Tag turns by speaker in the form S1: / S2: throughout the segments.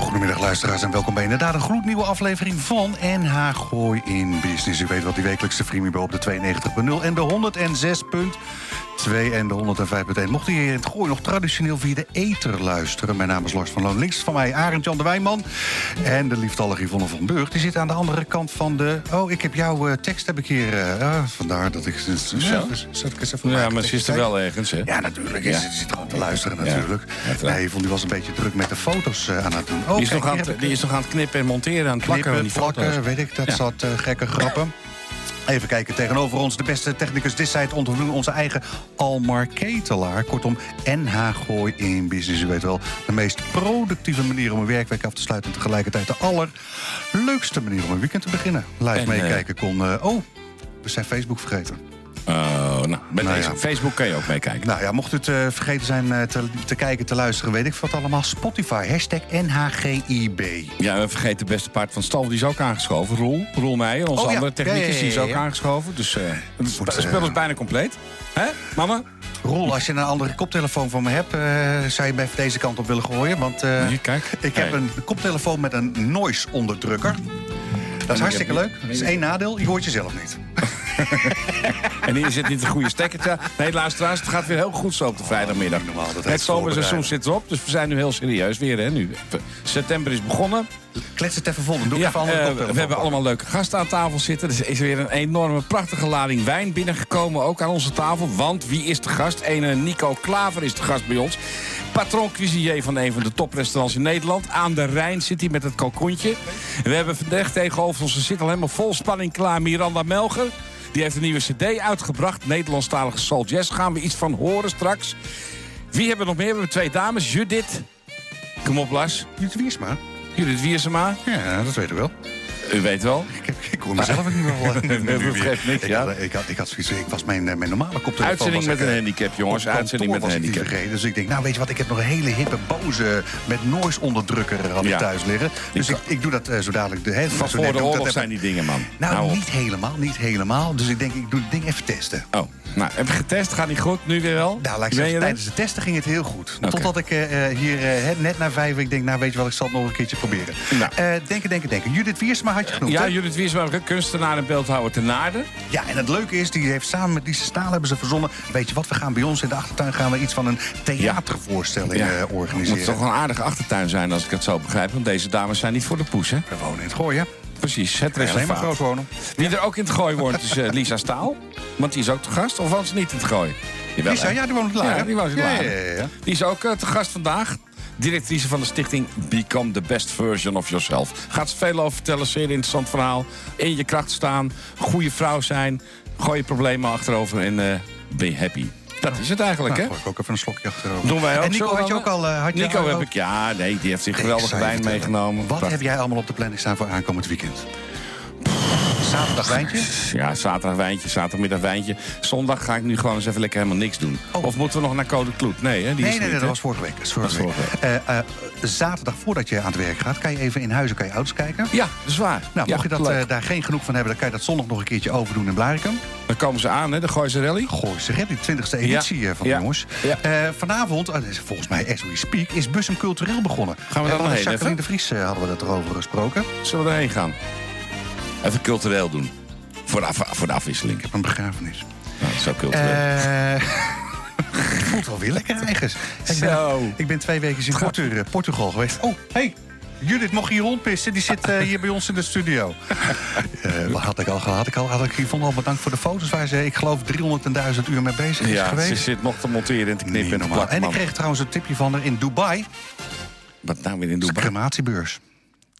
S1: Goedemiddag luisteraars en welkom bij inderdaad een gloednieuwe aflevering van NH Gooi in Business. U weet wat die wekelijkse freemiebel op de 92.0 en de 106.2 en de 105.1. Mocht u hier in het Gooi nog traditioneel via de ether luisteren. Mijn naam is Lars van Loon, links van mij Arend-Jan de Wijnman. En de lieftallige Yvonne van Burg, die zit aan de andere kant van de... Oh, ik heb jouw eh, tekst heb ik hier. eh, ah, vandaar dat ik...
S2: Zo.
S1: Zat ik eens even
S2: Ja,
S1: maken
S2: maar
S1: dat
S2: ze is
S1: je zei-
S2: er wel ergens, hè?
S1: Ja, natuurlijk.
S2: Ja.
S1: Ze zit gewoon te luisteren
S2: Ja,
S1: natuurlijk.
S2: uiteraard.
S1: nee, Yvonne die was een beetje druk met de foto's eh, aan het doen. Oh,
S2: Die is,
S1: kijk,
S2: nog aan
S1: hier heb
S2: het,
S1: ik-
S2: die is nog aan het knippen en monteren, aan het plakken.
S1: Knippen,
S2: van die
S1: plakken,
S2: foto's.
S1: weet ik, dat
S2: Ja.
S1: soort eh, gekke grappen. Even kijken, tegenover ons de beste technicus dit site ontvangen onze eigen Almar Ketelaar. Kortom, NH Gooi in Business. U weet wel, de meest productieve manier om een werkweek af te sluiten... en tegelijkertijd de allerleukste manier om een weekend te beginnen. Live
S2: En, eh,
S1: meekijken kon... eh, oh, we zijn Facebook vergeten.
S2: Oh, nou, met
S1: Nou
S2: deze
S1: ja.
S2: Facebook kan je ook meekijken.
S1: Nou ja, mocht u het eh, vergeten zijn eh, te, te kijken, te luisteren... weet ik wat allemaal, Spotify, hashtag NHGIB.
S2: Ja, en vergeet de beste paard van stal, die is ook aangeschoven. Roel, Roel Meijer, onze
S1: Oh, ja.
S2: andere technicus,
S1: Ja, ja, ja,
S2: die is
S1: ja,
S2: ook
S1: ja.
S2: aangeschoven. Dus eh, het spe-
S1: Wordt, eh,
S2: spel is bijna compleet. Hè, mama?
S1: Roel, als je een andere koptelefoon van me hebt, eh, zou je hem even deze kant op willen gooien. Want eh,
S2: Hier, kijk.
S1: ik heb
S2: Hey.
S1: een koptelefoon met een noise-onderdrukker. Dat is hartstikke
S2: heb je-
S1: leuk. Dat is één nadeel, je hoort jezelf niet.
S2: En hier zit niet de goede stekkertje. Nee, luisteraars, het gaat weer heel goed zo op de vrijdagmiddag.
S1: Oh, normaal, dat heet
S2: Het zomerseizoen
S1: voorbereiden.
S2: zit erop, dus we zijn nu heel serieus weer. Hè, nu. September is begonnen.
S1: Klets het even vol, dan doe ik
S2: Ja,
S1: even een andere
S2: eh,
S1: koptelefoon.
S2: we hebben allemaal leuke gasten aan tafel zitten. Er is weer een enorme, prachtige lading wijn binnengekomen, ook aan onze tafel. Want wie is de gast? Ene Nico Klaver is de gast bij ons. Patron cuisinier van een van de toprestaurants in Nederland. Aan de Rijn zit hij met het kalkoentje. We hebben vandaag tegenover ons, ze zit al helemaal vol spanning klaar, Miranda Melger. Die heeft een nieuwe cd uitgebracht, Nederlandstalige Soul Jazz. Gaan we iets van horen straks. Wie hebben we nog meer? We hebben twee dames, Judith. Kom op, Lars.
S1: Ruud Wiersma.
S2: Judith Wiersema.
S1: Ja, dat weten we wel.
S2: U weet wel.
S1: Ik, heb- ik hoor mezelf ook niet meer wel.
S2: Ah, Dat geeft niks,
S1: ik,
S2: ja.
S1: had, ik, had, ik had zoiets, ik was mijn, eh, mijn normale koptelefoon.
S2: Uitzending
S1: was
S2: met
S1: ik, eh,
S2: een handicap, jongens.
S1: op kantoor
S2: Uitzending met een
S1: was ik die
S2: handicap.
S1: vergeten. dus ik denk, nou weet je wat, ik heb nog een hele hippe boze met noise onderdrukker had ik
S2: Ja.
S1: thuis liggen. Dus ik, ik doe dat eh, zo dadelijk. De, hè,
S2: Van
S1: zo
S2: voor
S1: net doe
S2: de
S1: ik dat
S2: oorlog
S1: even.
S2: zijn die dingen, man.
S1: Nou,
S2: op.
S1: niet helemaal, niet helemaal. Dus ik denk, ik doe het ding even testen.
S2: Oh, nou, heb je getest? Gaat niet goed? Nu weer wel?
S1: Nou, laat ik
S2: Ben
S1: zeggen,
S2: je
S1: tijdens de testen ging het heel goed.
S2: Oké.
S1: Totdat ik eh, eh, hier eh, hè, net na vijf, ik denk, nou weet je wel, ik zal het nog een keertje proberen.
S2: Nou.
S1: Eh, denken, denken, denken. Judith Wiersma had je
S2: er?
S1: genoemd,
S2: Ja,
S1: hè?
S2: Judith Wiersma, kunstenaar en beeldhouwer te Naarden.
S1: Ja, en het leuke is, die heeft samen met Lise Staal hebben ze verzonnen... weet je wat, we gaan bij ons in de achtertuin gaan we iets van een theatervoorstelling eh,
S2: Het moet
S1: organiseren.
S2: toch wel een aardige achtertuin zijn, als ik het zo begrijp. Want deze dames zijn niet voor de poes, hè?
S1: We wonen in het gooien.
S2: Precies, het
S1: Alleen maar
S2: reservaat.
S1: groot wonen.
S2: Wie er ook in het gooi woont is eh, Lisa Staal. Want die is ook te gast. Of was ze niet in het gooi? Jawel,
S1: Lisa,
S2: hè?
S1: ja, die woont in Laren.
S2: Ja, die woont in
S1: Ja,
S2: Laren.
S1: ja, ja, ja.
S2: Die is ook eh, te gast vandaag. Directrice van de stichting Become the Best Version of Yourself. Gaat ze veel over vertellen, zeer interessant verhaal. In je kracht staan, goede vrouw zijn. Gooi je problemen achterover en eh be happy. Dat is het eigenlijk,
S1: Nou,
S2: hè?
S1: gooi ik ook even een slokje achterover.
S2: Doen wij ook
S1: En Nico,
S2: zo,
S1: had je
S2: Anne?
S1: ook al... eh, had je
S2: Nico
S1: al-
S2: heb ik, ja, nee, die heeft zich
S1: Ik
S2: geweldige
S1: zou je
S2: wijn
S1: vertellen,
S2: meegenomen.
S1: Wat
S2: Prachtig.
S1: heb jij allemaal op de planning staan voor aankomend weekend? Zaterdag wijntje?
S2: Ja, zaterdag wijntje, zaterdagmiddag wijntje. Zondag ga ik nu gewoon eens even lekker helemaal niks doen.
S1: Oh.
S2: Of moeten we nog naar Code Kloet? Nee, hè, die
S1: Nee, nee,
S2: is
S1: nee,
S2: niet,
S1: dat
S2: hè?
S1: was vorige week. Dat is vorige
S2: Dat was
S1: week. Eh, eh, zaterdag voordat je aan het werk gaat, kan je even in huizen kan je auto's kijken.
S2: Ja, dat is waar.
S1: Nou,
S2: ja,
S1: mocht je dat,
S2: leuk.
S1: eh, daar geen genoeg van hebben, dan kan je dat zondag nog een keertje overdoen in Blarikum.
S2: Dan komen ze aan, hè, de Gooise Rally.
S1: Gooi ze red, die 20e editie
S2: Ja.
S1: eh, van
S2: Ja.
S1: jongens.
S2: Ja.
S1: Eh, vanavond, eh, volgens mij as we speak, is Bussum Cultureel begonnen.
S2: Gaan we daar
S1: Eh,
S2: nog
S1: met
S2: heen,
S1: Jacqueline
S2: even?
S1: de Vries eh, hadden we dat erover gesproken.
S2: Zullen we erheen gaan? Even cultureel doen. Voor de, af- voor de afwisseling.
S1: Een begrafenis.
S2: Nou, zo cultureel.
S1: Eh voelt wel weer lekker eigens. Ik ben,
S2: Zo.
S1: ik ben twee weken in Portu- eh, Portugal geweest. Oh, hey. Judith mocht hier rondpissen. Die zit eh, hier bij ons in de studio. Eh, wat had ik al gehad? Had ik al, had ik Yvonne al bedankt voor de foto's waar ze, ik geloof, 300.000 uur mee bezig is
S2: ja, ze
S1: geweest.
S2: zit nog te monteren en te
S1: Niet
S2: knippen en te
S1: normaal.
S2: plakken.
S1: en ik
S2: man.
S1: kreeg trouwens een tipje van haar in Dubai.
S2: Wat nou weer in
S1: De
S2: Dubai?
S1: crematiebeurs.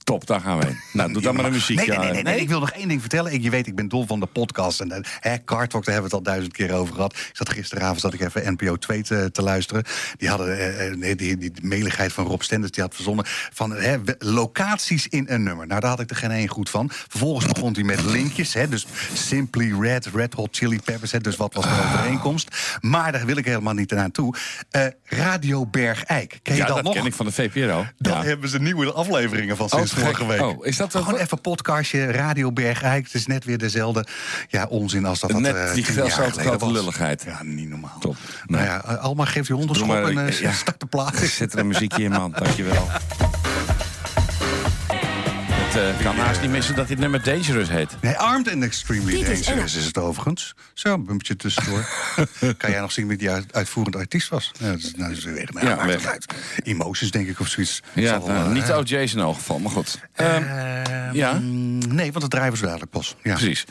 S2: Top, daar gaan we heen. Nou, doe dan maar een muziek.
S1: Nee, nee, nee, nee, nee, ik wil nog één ding vertellen. Ik, je weet, ik ben dol van de podcast. En eh, hè, Car Talk, daar hebben we het al duizend keer over gehad. Ik zat gisteravond zat ik even NPO 2 te, te luisteren. Die hadden eh, eh, nee, die, die meligheid van Rob Stenders, die had verzonnen... van eh, hè, we- locaties in een nummer. Nou, daar had ik er geen één goed van. Vervolgens begon hij met linkjes. Hè, dus Simply Red, Red Hot Chili Peppers. Hè, dus wat was de overeenkomst? Maar daar wil ik helemaal niet naartoe. Eh Radio Bergijk. Ken je
S2: Ja,
S1: dat,
S2: dat
S1: nog?
S2: ken ik van de VPRO.
S1: Daar
S2: Ja.
S1: hebben ze nieuwe afleveringen van sinds
S2: te gek.
S1: vorige week.
S2: Oh, is dat wel-
S1: Gewoon even een podcastje, Radio Bergijk. Het is net weer dezelfde ja, onzin als dat
S2: Net
S1: dat, eh,
S2: die
S1: tien
S2: zelfs
S1: jaar
S2: zo'n
S1: geleden
S2: grote
S1: was.
S2: lulligheid.
S1: Ja, niet normaal.
S2: Top.
S1: Nou ja, eh, Alma geeft die hond een
S2: Doe
S1: schop
S2: maar,
S1: en
S2: eh,
S1: eh,
S2: ja.
S1: start de plaat.
S2: Zet er een muziekje in, man. Dankjewel. Het eh, kan haast niet missen dat dit nummer Dangerous heet.
S1: Nee, Armed and Extremely
S3: Dit is
S1: Dangerous is het overigens. Zo, een bumpje tussendoor. kan jij nog zien wie die uit- uitvoerend artiest was? Nou, dat is, nou, dat is weer nou,
S2: Ja,
S1: maakt
S2: weg.
S1: het uit. Emotions, denk ik, of zoiets.
S2: Ja,
S1: Zal wel,
S2: nou,
S1: eh,
S2: niet OJ in elk geval, maar goed. Ehm,
S1: ehm,
S2: ja.
S1: Nee, want het drijven is dadelijk pas. Ja.
S2: Precies.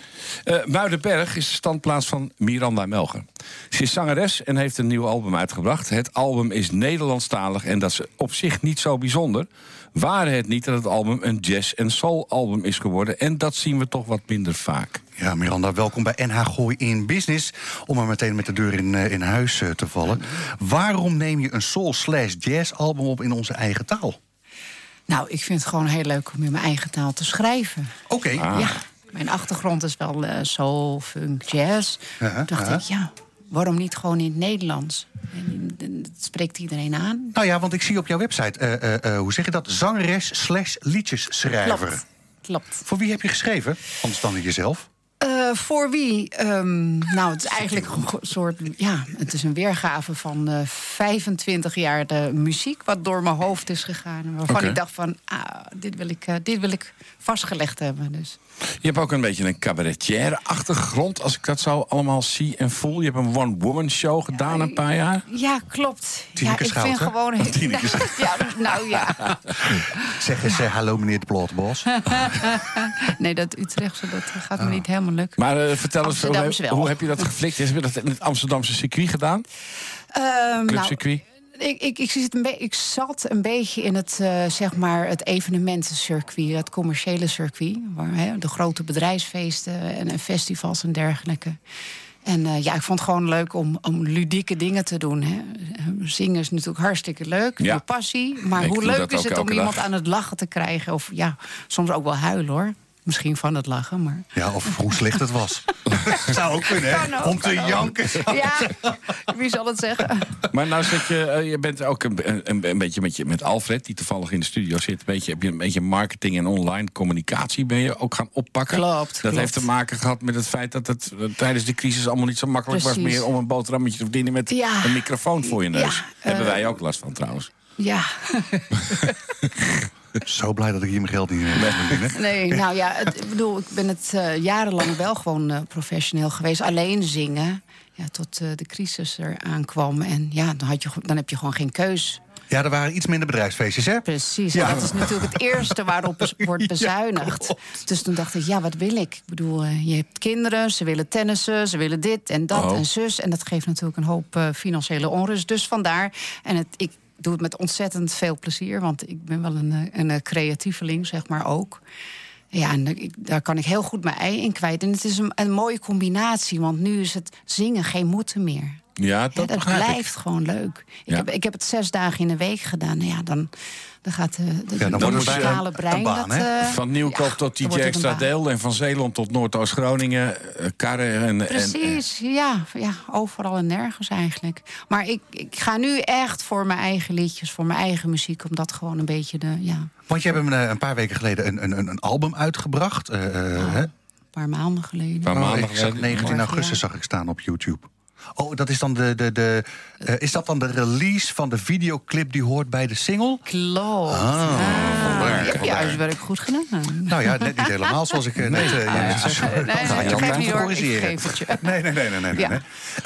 S2: Eh Muidenberg is de standplaats van Miranda Melger. Ze is zangeres en heeft een nieuw album uitgebracht. Het album is Nederlandstalig en dat is op zich niet zo bijzonder. Waren het niet dat het album een jazz- en soul-album is geworden... en dat zien we toch wat minder vaak.
S1: Ja, Miranda, welkom bij NH Gooi in Business. Om maar meteen met de deur in, eh, in huis eh, te vallen. Waarom neem je een soul-slash-jazz-album op in onze eigen taal?
S3: Nou, ik vind het gewoon heel leuk om in mijn eigen taal te schrijven.
S1: Oké.
S2: Ah.
S3: Ja, mijn achtergrond is wel eh, soul, funk, jazz.
S1: Ja,
S3: Toen dacht
S1: ja.
S3: ik, ja, waarom niet gewoon in het Nederlands? En, in- en dat spreekt iedereen aan.
S1: Nou ja, want ik zie op jouw website, eh, eh, eh, hoe zeg je dat? Zangeres-slash-liedjesschrijver.
S3: Klopt, klopt.
S1: Voor wie heb je geschreven? Anders dan jezelf.
S3: Eh, voor wie? Ehm, nou, het is eigenlijk een go- soort. Ja, het is een weergave van eh, 25 jaar de muziek. wat door mijn hoofd is gegaan. en Waarvan
S2: Oké.
S3: ik dacht: van, ah, dit, wil ik, eh, dit wil ik vastgelegd hebben. Dus.
S2: Je hebt ook een beetje een cabaretière-achtergrond... als ik dat zo allemaal zie en voel. Je hebt een one-woman-show gedaan een paar jaar.
S3: Ja, klopt.
S1: Tineke
S3: ja, ik
S1: Schout,
S3: vind
S1: hè?
S3: gewoon.
S1: Tineke Schout.
S3: ja, nou ja.
S1: Zeg eens eh, hallo, meneer de Plotbos.
S3: Nee, dat Utrechtse dat gaat
S1: Ah.
S3: me niet helemaal lukken.
S2: Maar eh, vertel eens, hoe,
S3: Amsterdams wel. Nou-
S2: hoe heb je dat geflikt? Heb je dat in het Amsterdamse circuit gedaan?
S3: Ehm, nou,
S2: Clubcircuit?
S3: Ik, ik, ik, zit een be- ik zat een beetje in het, eh, zeg maar het evenementencircuit, het commerciële circuit. Waar, hè, de grote bedrijfsfeesten en, en festivals en dergelijke. En eh, ja, ik vond het gewoon leuk om, om ludieke dingen te doen. Hè. Zingen is natuurlijk hartstikke leuk,
S2: Ja.
S3: je passie. Maar
S2: Ik
S3: hoe
S2: doe dat
S3: leuk is
S2: ook
S3: het om
S2: elke
S3: iemand
S2: dag.
S3: aan het lachen te krijgen? Of ja, soms ook wel huilen hoor. Misschien van het lachen, maar...
S1: Ja, of hoe slecht het was. Zou ook kunnen,
S3: Kan
S1: hè?
S3: ook,
S1: Om te
S3: kan ook.
S1: janken.
S3: Ja, wie zal het zeggen?
S2: Maar nou zit je, eh, je bent ook een, een, een beetje met, je, met Alfred, die toevallig in de studio zit. Een beetje, heb je een beetje marketing en online communicatie ben je ook gaan oppakken.
S3: Klopt,
S2: Dat
S3: klopt.
S2: heeft te maken gehad met het feit dat het eh, tijdens de crisis allemaal niet zo makkelijk was
S3: Precies.
S2: meer om een boterhammetje te verdienen met
S3: Ja.
S2: een microfoon voor je neus.
S3: Ja,
S2: Hebben
S3: eh,
S2: wij ook last van trouwens.
S3: Ja.
S1: Zo blij dat ik hier mijn geld niet meer heb.
S3: Nee, nou ja, het- ik bedoel, ik ben het eh, jarenlang wel gewoon eh, professioneel geweest. Alleen zingen, ja, tot eh, de crisis er aankwam. En ja, dan, had je, ge- dan heb je gewoon geen keus.
S1: Ja, er waren iets minder bedrijfsfeestjes, hè?
S3: Precies,
S1: Ja.
S3: en dat is natuurlijk het eerste waarop bes- wordt bezuinigd. dus toen dacht ik, ja, wat wil ik? Ik bedoel, eh, je hebt kinderen, ze willen tennissen, ze willen dit en dat
S2: Oh.
S3: en zus. En dat geeft natuurlijk een hoop eh, financiële onrust. Dus vandaar, en het, ik doe het met ontzettend veel plezier... want ik ben wel een, eh, een eh, creatieveling, zeg maar ook... Ja, en ik- daar kan ik heel goed mijn ei in kwijt. En het is een, een mooie combinatie, want nu is het zingen geen moeten meer.
S2: Ja,
S3: Ja,
S2: dat,
S3: dat
S2: begrijp
S3: blijft
S2: ik.
S3: gewoon leuk. Ik,
S2: Ja.
S3: heb, ik heb het zes dagen in de week gedaan. Nou ja, dan, dan gaat de, de,
S1: dan
S3: de
S1: wordt
S2: het
S3: muzikale
S1: een-
S3: brein...
S1: een baan,
S3: dat,
S1: hè?
S3: eh,
S2: Van Nieuwkoop
S3: ja,
S2: tot DJ
S3: dan wordt het een baan.
S2: Extradeel en van Zeeland tot Noordoost-Groningen. eh, Karren en- en, en,
S3: Precies, ja, ja. Overal en nergens eigenlijk. Maar ik, ik ga nu echt voor mijn eigen liedjes, voor mijn eigen muziek... omdat gewoon een beetje de... Ja, een
S1: Want je hebt hem eh, een paar weken geleden een, een, een- een album uitgebracht. eh, eh, hè?
S3: paar maanden geleden.
S2: Waar-
S1: Oh,
S2: Maandag
S1: ik zag
S2: zei-
S1: 19
S3: Vorig
S1: augustus
S3: jaar.
S1: zag ik staan op YouTube. Oh, dat is dan de, de, de, eh, is dat dan de release van de videoclip die hoort bij de single? Ah,
S3: Klopt.
S1: vandaar,
S3: je hebt je
S1: vandaar.
S3: huiswerk goed gedaan.
S1: Nou ja, net niet helemaal zoals ik eh, net... eh, je net zei.
S3: Nee, nee,
S2: je
S3: nee,
S2: ook
S3: geef
S2: aan
S3: niet hoor, ik
S1: corrigeren.
S3: geef het je.
S1: Nee, nee, nee, nee. nee, nee,
S3: Ja.
S1: nee.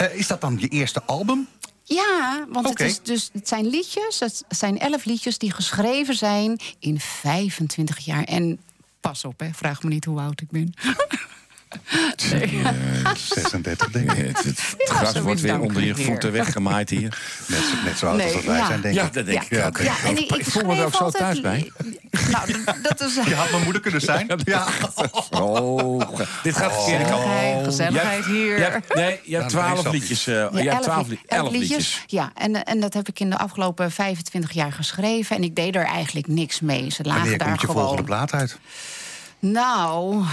S1: Eh, is dat dan je eerste album?
S3: Ja, want
S1: Oké.
S3: het, is dus, het zijn liedjes, het zijn elf liedjes die geschreven zijn in 25 jaar. En pas op, hè, vraag me niet hoe oud ik ben.
S1: 36, denk ik.
S2: Het, het- het
S3: Ja,
S2: gras
S3: zoiets
S2: wordt weer
S3: dank
S2: onder
S3: u,
S2: je
S3: heer.
S2: voeten weggemaaid hier.
S1: Net, zo- net zo oud als
S3: Nee,
S1: dat wij
S3: ja.
S1: zijn, denk
S2: Ja,
S1: ik.
S2: dat denk ik
S1: Ja,
S2: ook.
S1: dat
S3: Ja, en ik,
S2: Ik voel me er ook
S3: schreef
S2: zo thuis
S3: altijd- Nou, dat- dat is...
S1: Je had mijn moeder kunnen zijn. Ja.
S2: Oh, dit gaat de verkeerde kant op.
S3: Gezelligheid, gezelligheid hier.
S2: Je hebt- nee, je hebt
S1: Nou, dat is
S2: twaalf
S1: dat
S2: liedjes. eh, je
S3: Ja,
S2: hebt
S3: elf
S2: twaalf
S3: lied-
S2: li- elf liedjes.
S3: Ja, en, en dat heb ik in de afgelopen 25 jaar geschreven. En ik deed er eigenlijk niks mee. Ze lagen
S1: Wanneer
S3: daar
S1: komt je
S3: gewoon.
S1: volgende plaat uit?
S3: Nou,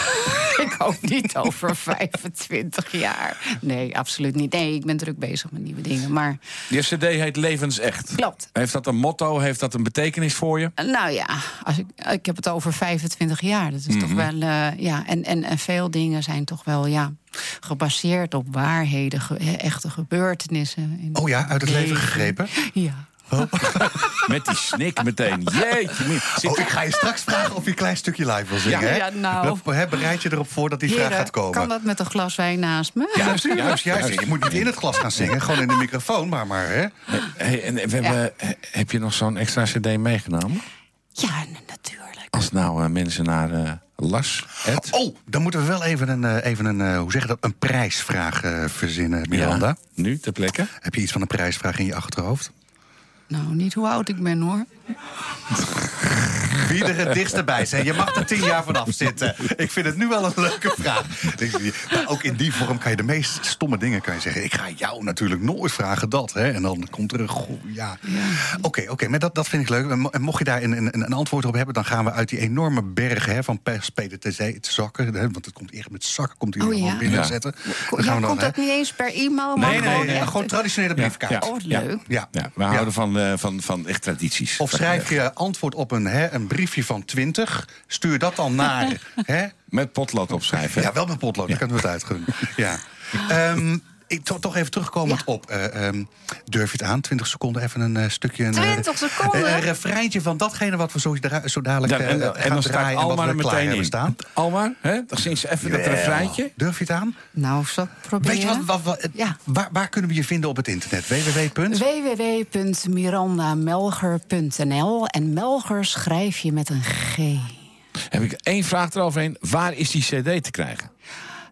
S3: ik hoop niet over 25 jaar. Nee, absoluut niet. Nee, ik ben druk bezig met nieuwe dingen. Maar
S2: Die CD heet Levensecht.
S3: Klopt.
S2: Heeft dat een motto? Heeft dat een betekenis voor je?
S3: eh, nou ja, als ik, ik heb het over 25 jaar. Dat is toch
S1: Mhm.
S3: wel, eh, ja. En, en, en veel dingen zijn toch wel, ja, gebaseerd op waarheden, ge- eh, echte gebeurtenissen. In-
S1: Oh ja, uit het leven gegrepen.
S3: Ja.
S2: Met die snik meteen. Jeetje. mie- Zit
S1: Oh, ik ga je straks vragen of je een klein stukje live wil zingen.
S2: Ja.
S1: hè?
S3: Ja, nou.
S1: Dan, hè, bereid je erop voor dat die vraag
S3: Heren,
S1: gaat komen.
S3: Kan dat met een glas wijn naast me?
S1: Ja, juist, juist, juist. Je moet niet in het glas gaan zingen, gewoon in de microfoon, maar maar. Hè?
S2: Hey, en we hebben, Heb je nog zo'n extra cd meegenomen?
S3: Ja, n- natuurlijk.
S2: Als nou eh, mensen naar eh, Lars, Ed...
S1: Oh, dan moeten we wel even een, eh, even een eh, hoe zeg je dat, een prijsvraag eh, verzinnen, Miranda.
S2: Ja, nu, ter plekke.
S1: Heb je iets van een prijsvraag in je achterhoofd?
S3: Nou, niet hoe oud ik ben hoor.
S1: Wie er het dichtst bij zijn. Je mag er tien jaar vanaf zitten. Ik vind het nu wel een leuke vraag. Maar ook in die vorm kan je de meest stomme dingen kan je zeggen. Ik ga jou natuurlijk nooit vragen dat. Hè? En dan komt er een goe- Ja. Oké, oké. maar dat, dat vind ik leuk. En mo- En mocht je daar een, een, een antwoord op hebben, dan gaan we uit die enorme bergen hè, van pers, peden te zee- te zakken. Hè? Want het komt echt met zakken, komt hier
S3: Oh,
S1: gewoon
S3: ja.
S1: binnen
S2: Ja.
S1: zetten.
S3: Ko-
S1: Dan gaan we
S3: ja,
S1: dan,
S3: komt
S1: hè?
S3: dat niet eens per e-mail? maar
S1: Nee, nee,
S3: gewoon
S1: nee,
S3: echt-
S1: gewoon traditionele briefkaart.
S2: ja.
S3: Oh, leuk.
S1: Ja.
S2: Ja, we
S1: Ja.
S2: houden van, eh, van, van echt tradities. Eh,
S1: Of schrijf je antwoord op een, hè, een briefje van 20. Stuur dat dan naar. Hè?
S2: Met potlood opschrijven.
S1: Ja, wel met potlood. Dan kan het uitgunnen. ja. Ehm, ik to- toch even terugkomend
S3: Ja.
S1: op. eh, ehm, durf je het aan? 20 seconden even een eh, stukje. Een, eh,
S3: 20 seconden?
S1: eh, Een refreintje van datgene wat we zo, dra- zo dadelijk
S2: Dan-
S1: eh,
S2: en,
S1: gaan
S2: en dan staat
S1: draaien. En wat
S2: Alma
S1: we
S2: er
S1: klaar
S2: meteen
S1: hebben
S2: in.
S1: staan.
S2: Alma, hè? dan zing ze even dat
S1: Jawel.
S2: refreintje.
S1: Durf je het aan?
S3: Nou, zal ik proberen?
S1: Weet je wat? wat- wat-
S3: Ja.
S1: waar, waar kunnen we je vinden op het internet? www.
S3: www.mirandamelger.nl En Melger schrijf je met een G.
S2: Heb ik één vraag eroverheen. Waar is die cd te krijgen?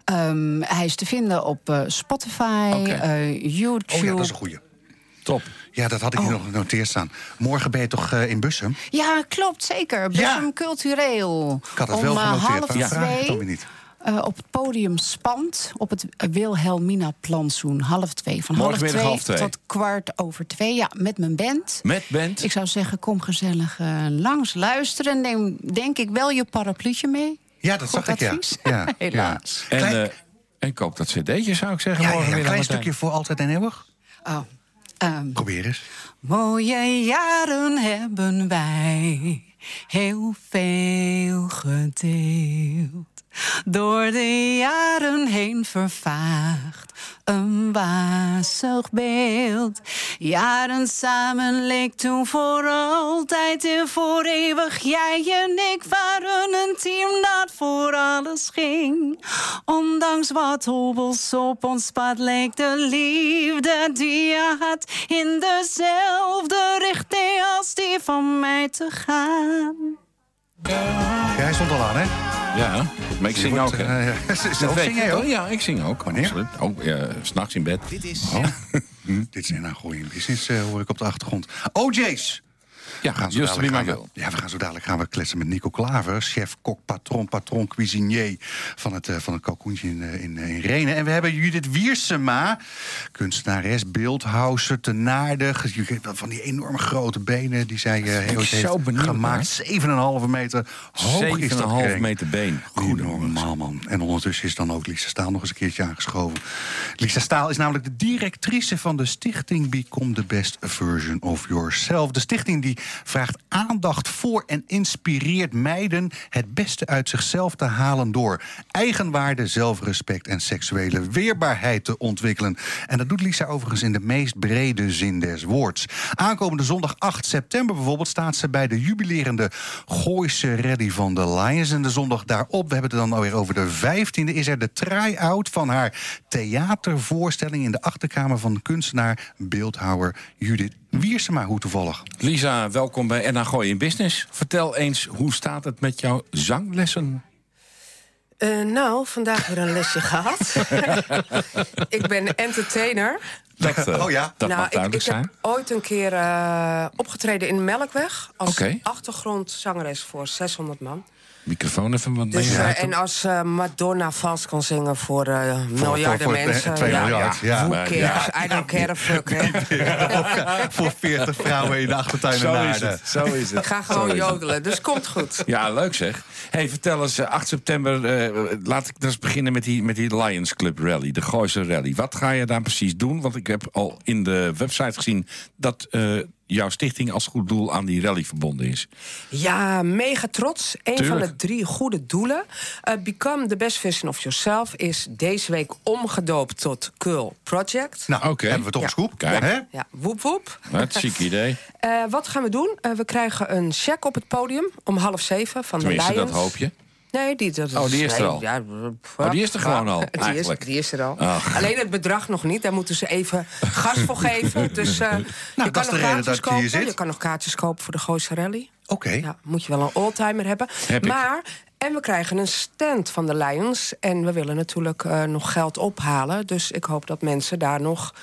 S3: Ehm, hij is te vinden op eh, Spotify,
S2: Oké.
S3: eh, YouTube.
S1: Oh ja, dat is een goeie.
S2: Top.
S1: Ja, dat had ik hier nog genoteerd staan. Morgen ben je toch eh, in Bussum?
S3: Ja, klopt, zeker. Best
S1: Ja.
S3: een cultureel.
S1: Ik had het
S3: Om
S1: wel
S3: eh,
S1: genoteerd,
S3: half
S1: maar vraag ik het dan
S3: twee
S1: weer niet.
S3: eh, op het podium Spant op het Wilhelmina plantsoen. Half twee. Van half
S2: Morgenmiddag
S3: twee,
S2: half twee.
S3: tot kwart over twee. Ja, met mijn band.
S2: Met band.
S3: Ik zou zeggen, kom gezellig eh, langs luisteren. Neem denk ik wel je parapluutje mee.
S1: Ja, dat
S3: Goed
S1: zag ik, ja.
S3: advies.
S1: Ja,
S3: Helaas.
S2: en,
S1: Klein-
S2: eh, en koop dat cd'tje, zou ik zeggen.
S1: Ja, ja, ja,
S2: morgenmiddag
S1: een klein
S2: meteen.
S1: stukje voor altijd en eeuwig.
S3: Oh. ehm,
S1: Probeer eens.
S3: Mooie jaren hebben wij heel veel gedeeld. Door de jaren heen vervaagd, een wazig beeld. Jaren samen leek toen voor altijd en voor eeuwig. Jij en ik waren een team dat voor alles ging. Ondanks wat hobbels op ons pad leek de liefde die je had in dezelfde richting als die van mij te gaan.
S1: Ja, hij stond al aan, hè?
S2: Ja, maar ik zing ook. hè.
S1: Eh, ja. Ze- ze-
S2: Dat
S1: ook
S2: weet
S1: zing
S2: je
S1: jij
S2: toch?
S1: ook?
S2: Ja, ik zing ook.
S1: Wanneer?
S2: Absoluut. Ook eh, 's s'nachts in bed.
S4: Dit is
S1: Dit is een nou, goeie business, eh, hoor ik op de achtergrond. OJ's!
S2: Ja,
S1: We gaan zo
S2: Just
S1: dadelijk
S2: Be My
S1: gaan we-
S2: Girl.
S1: ja, we gaan zo dadelijk gaan we kletsen met Nico Klaver, chef, kok, patron, patron, cuisinier van het, eh, van het kalkoentje in, eh, in, eh, in Renen. En we hebben Judith Wiersema, kunstenares, beeldhouser, tenaardig. Je weet wel, Van die enorme grote benen die zij eh, heel
S2: ik
S1: heeft
S2: zo benieuwd
S1: gemaakt. 7,5 meter hoog is dat
S2: 7,5
S1: ding.
S2: meter been.
S1: Goed normaal, man. En ondertussen is dan ook Lisa Staal nog eens een keertje aangeschoven. Lisa Staal is namelijk de directrice van de stichting Become the Best Version of Yourself. De stichting die vraagt aandacht voor en inspireert meiden het beste uit zichzelf te halen door eigenwaarde, zelfrespect en seksuele weerbaarheid te ontwikkelen. En dat doet Lisa overigens in de meest brede zin des woords. Aankomende zondag 8 september bijvoorbeeld staat ze bij de jubilerende Gooise Rally van de Lions. En de zondag daarop, we hebben het dan alweer over de 15e, is er de try-out van haar theatervoorstelling in de achterkamer van kunstenaar, beeldhouwer Judith Wiersema. Hoe toevallig.
S2: Lisa, welkom bij NH Gooi in Business. Vertel eens, hoe staat het met jouw zanglessen?
S5: Eh, nou, vandaag weer een lesje gehad. ik ben entertainer.
S2: Dat, eh,
S1: Oh ja.
S2: dat
S5: nou,
S2: mag duidelijk
S5: ik, ik
S2: zijn.
S5: heb ooit een keer eh, opgetreden in de Melkweg. Als
S2: Oké.
S5: achtergrondzangeres voor 600 man.
S2: Microfoon even wat
S5: Dus,
S2: meer
S5: eh,
S2: uit.
S5: en als eh, Madonna vals kan zingen voor eh, miljarden
S1: voor, eh,
S5: mensen.
S1: twee
S5: ja,
S1: miljard, ja.
S5: Who
S2: Maar,
S5: cares?
S2: ja.
S5: I don't care a fuck. hè.
S1: Voor 40 vrouwen in de achtertuin en
S2: Zo is
S1: naarden.
S2: het. Zo is het.
S5: eh, Ik ga
S2: Zo is
S5: gewoon
S2: het.
S5: jodelen, dus komt goed.
S2: Ja, leuk zeg. hey, vertel eens, eh, 8 september, eh, laat ik dan eens beginnen met die, met die Lions Club Rally, de Gooise Rally. Wat ga je daar precies doen? Want ik heb al in de website gezien dat eh, jouw stichting als goed doel aan die rally verbonden is.
S5: Ja, mega trots. Een
S2: Tuurlijk.
S5: van de drie goede doelen. Eh, Become the best version of yourself is deze week omgedoopt tot Curl Project.
S1: Nou,
S2: Oké.
S1: hebben we toch
S5: Ja.
S1: een scoop.
S2: Kijk.
S1: Hè?
S5: Ja, woep woep.
S2: Wat een chic idee.
S5: Eh, wat gaan we doen? Eh, we krijgen een check op het podium om half zeven van
S2: Tenminste,
S5: de Lions.
S2: dat hoop je.
S5: Nee, die, dat
S2: Oh, die is er
S5: nee,
S2: al.
S5: Ja,
S2: Oh, die is er gewoon al,
S5: Die is,
S2: eigenlijk. Ah.
S5: die is er al.
S2: Ach.
S5: Alleen het bedrag nog niet. Daar moeten ze even gas voor geven. Dus
S2: Nou,
S5: eh, je
S1: dat
S5: kan
S1: is de reden
S5: nog
S1: dat
S5: kaartjes
S1: je hier
S5: kopen.
S1: zit.
S5: Je kan nog kaartjes kopen voor de Gooise Rally.
S1: Oké.
S5: Ja, moet je wel een oldtimer hebben.
S2: Heb ik.
S5: maar, en we krijgen een stand van de Lions. En we willen natuurlijk eh, nog geld ophalen. Dus ik hoop dat mensen daar nog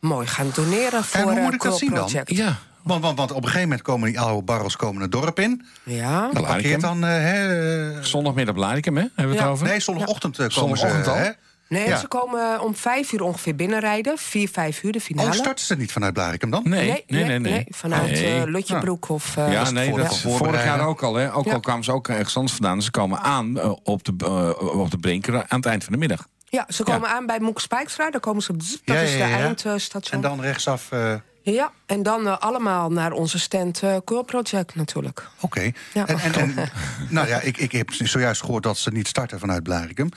S5: mooi gaan doneren voor
S1: hoe
S5: eh,
S1: moet ik dat
S5: Cool
S1: zien dan?
S5: Project.
S2: Ja,
S1: Want, want, want op een gegeven moment komen die oude barrels komen het dorp in.
S5: Ja.
S2: Nou,
S1: Parkeert
S2: Blarikum.
S1: dan... eh, hè, eh,
S2: Zondagmiddag Blarikum, hè? Hebben we het
S5: Ja.
S2: over?
S1: nee, zondagochtend eh, komen ze.
S2: Zondagochtend al?
S1: hè?
S5: Nee,
S1: Ja.
S5: ze komen om vijf uur ongeveer binnenrijden. Vier, vijf uur de finale.
S1: Oh, starten ze niet vanuit Blarikum dan?
S2: Nee, nee, nee. nee,
S5: Vanuit
S2: Nee.
S5: eh,
S1: Ah.
S5: Lutjebroek of... eh,
S2: Ja, nee,
S1: vorig
S2: dat is
S1: jaar
S2: vorig
S1: voorbereiden.
S2: jaar ook al. Hè? Ook
S5: Ja.
S2: al kwamen ze ook ergens anders vandaan. Ze komen aan eh, op, de, eh, op de Brinker aan het eind van de middag.
S5: ja, ze komen aan bij Moek Spijkstra. Daar komen ze... op- Dat
S1: Ja,
S5: is de
S1: ja, ja.
S5: eindstation.
S1: En dan rechtsaf. eh,
S5: Ja, en dan eh, allemaal naar onze stand eh Cool Project natuurlijk.
S1: Oké.
S5: Ja.
S1: En, en, en- nou ja, ik, ik heb zojuist gehoord dat ze niet starten vanuit Blarikum.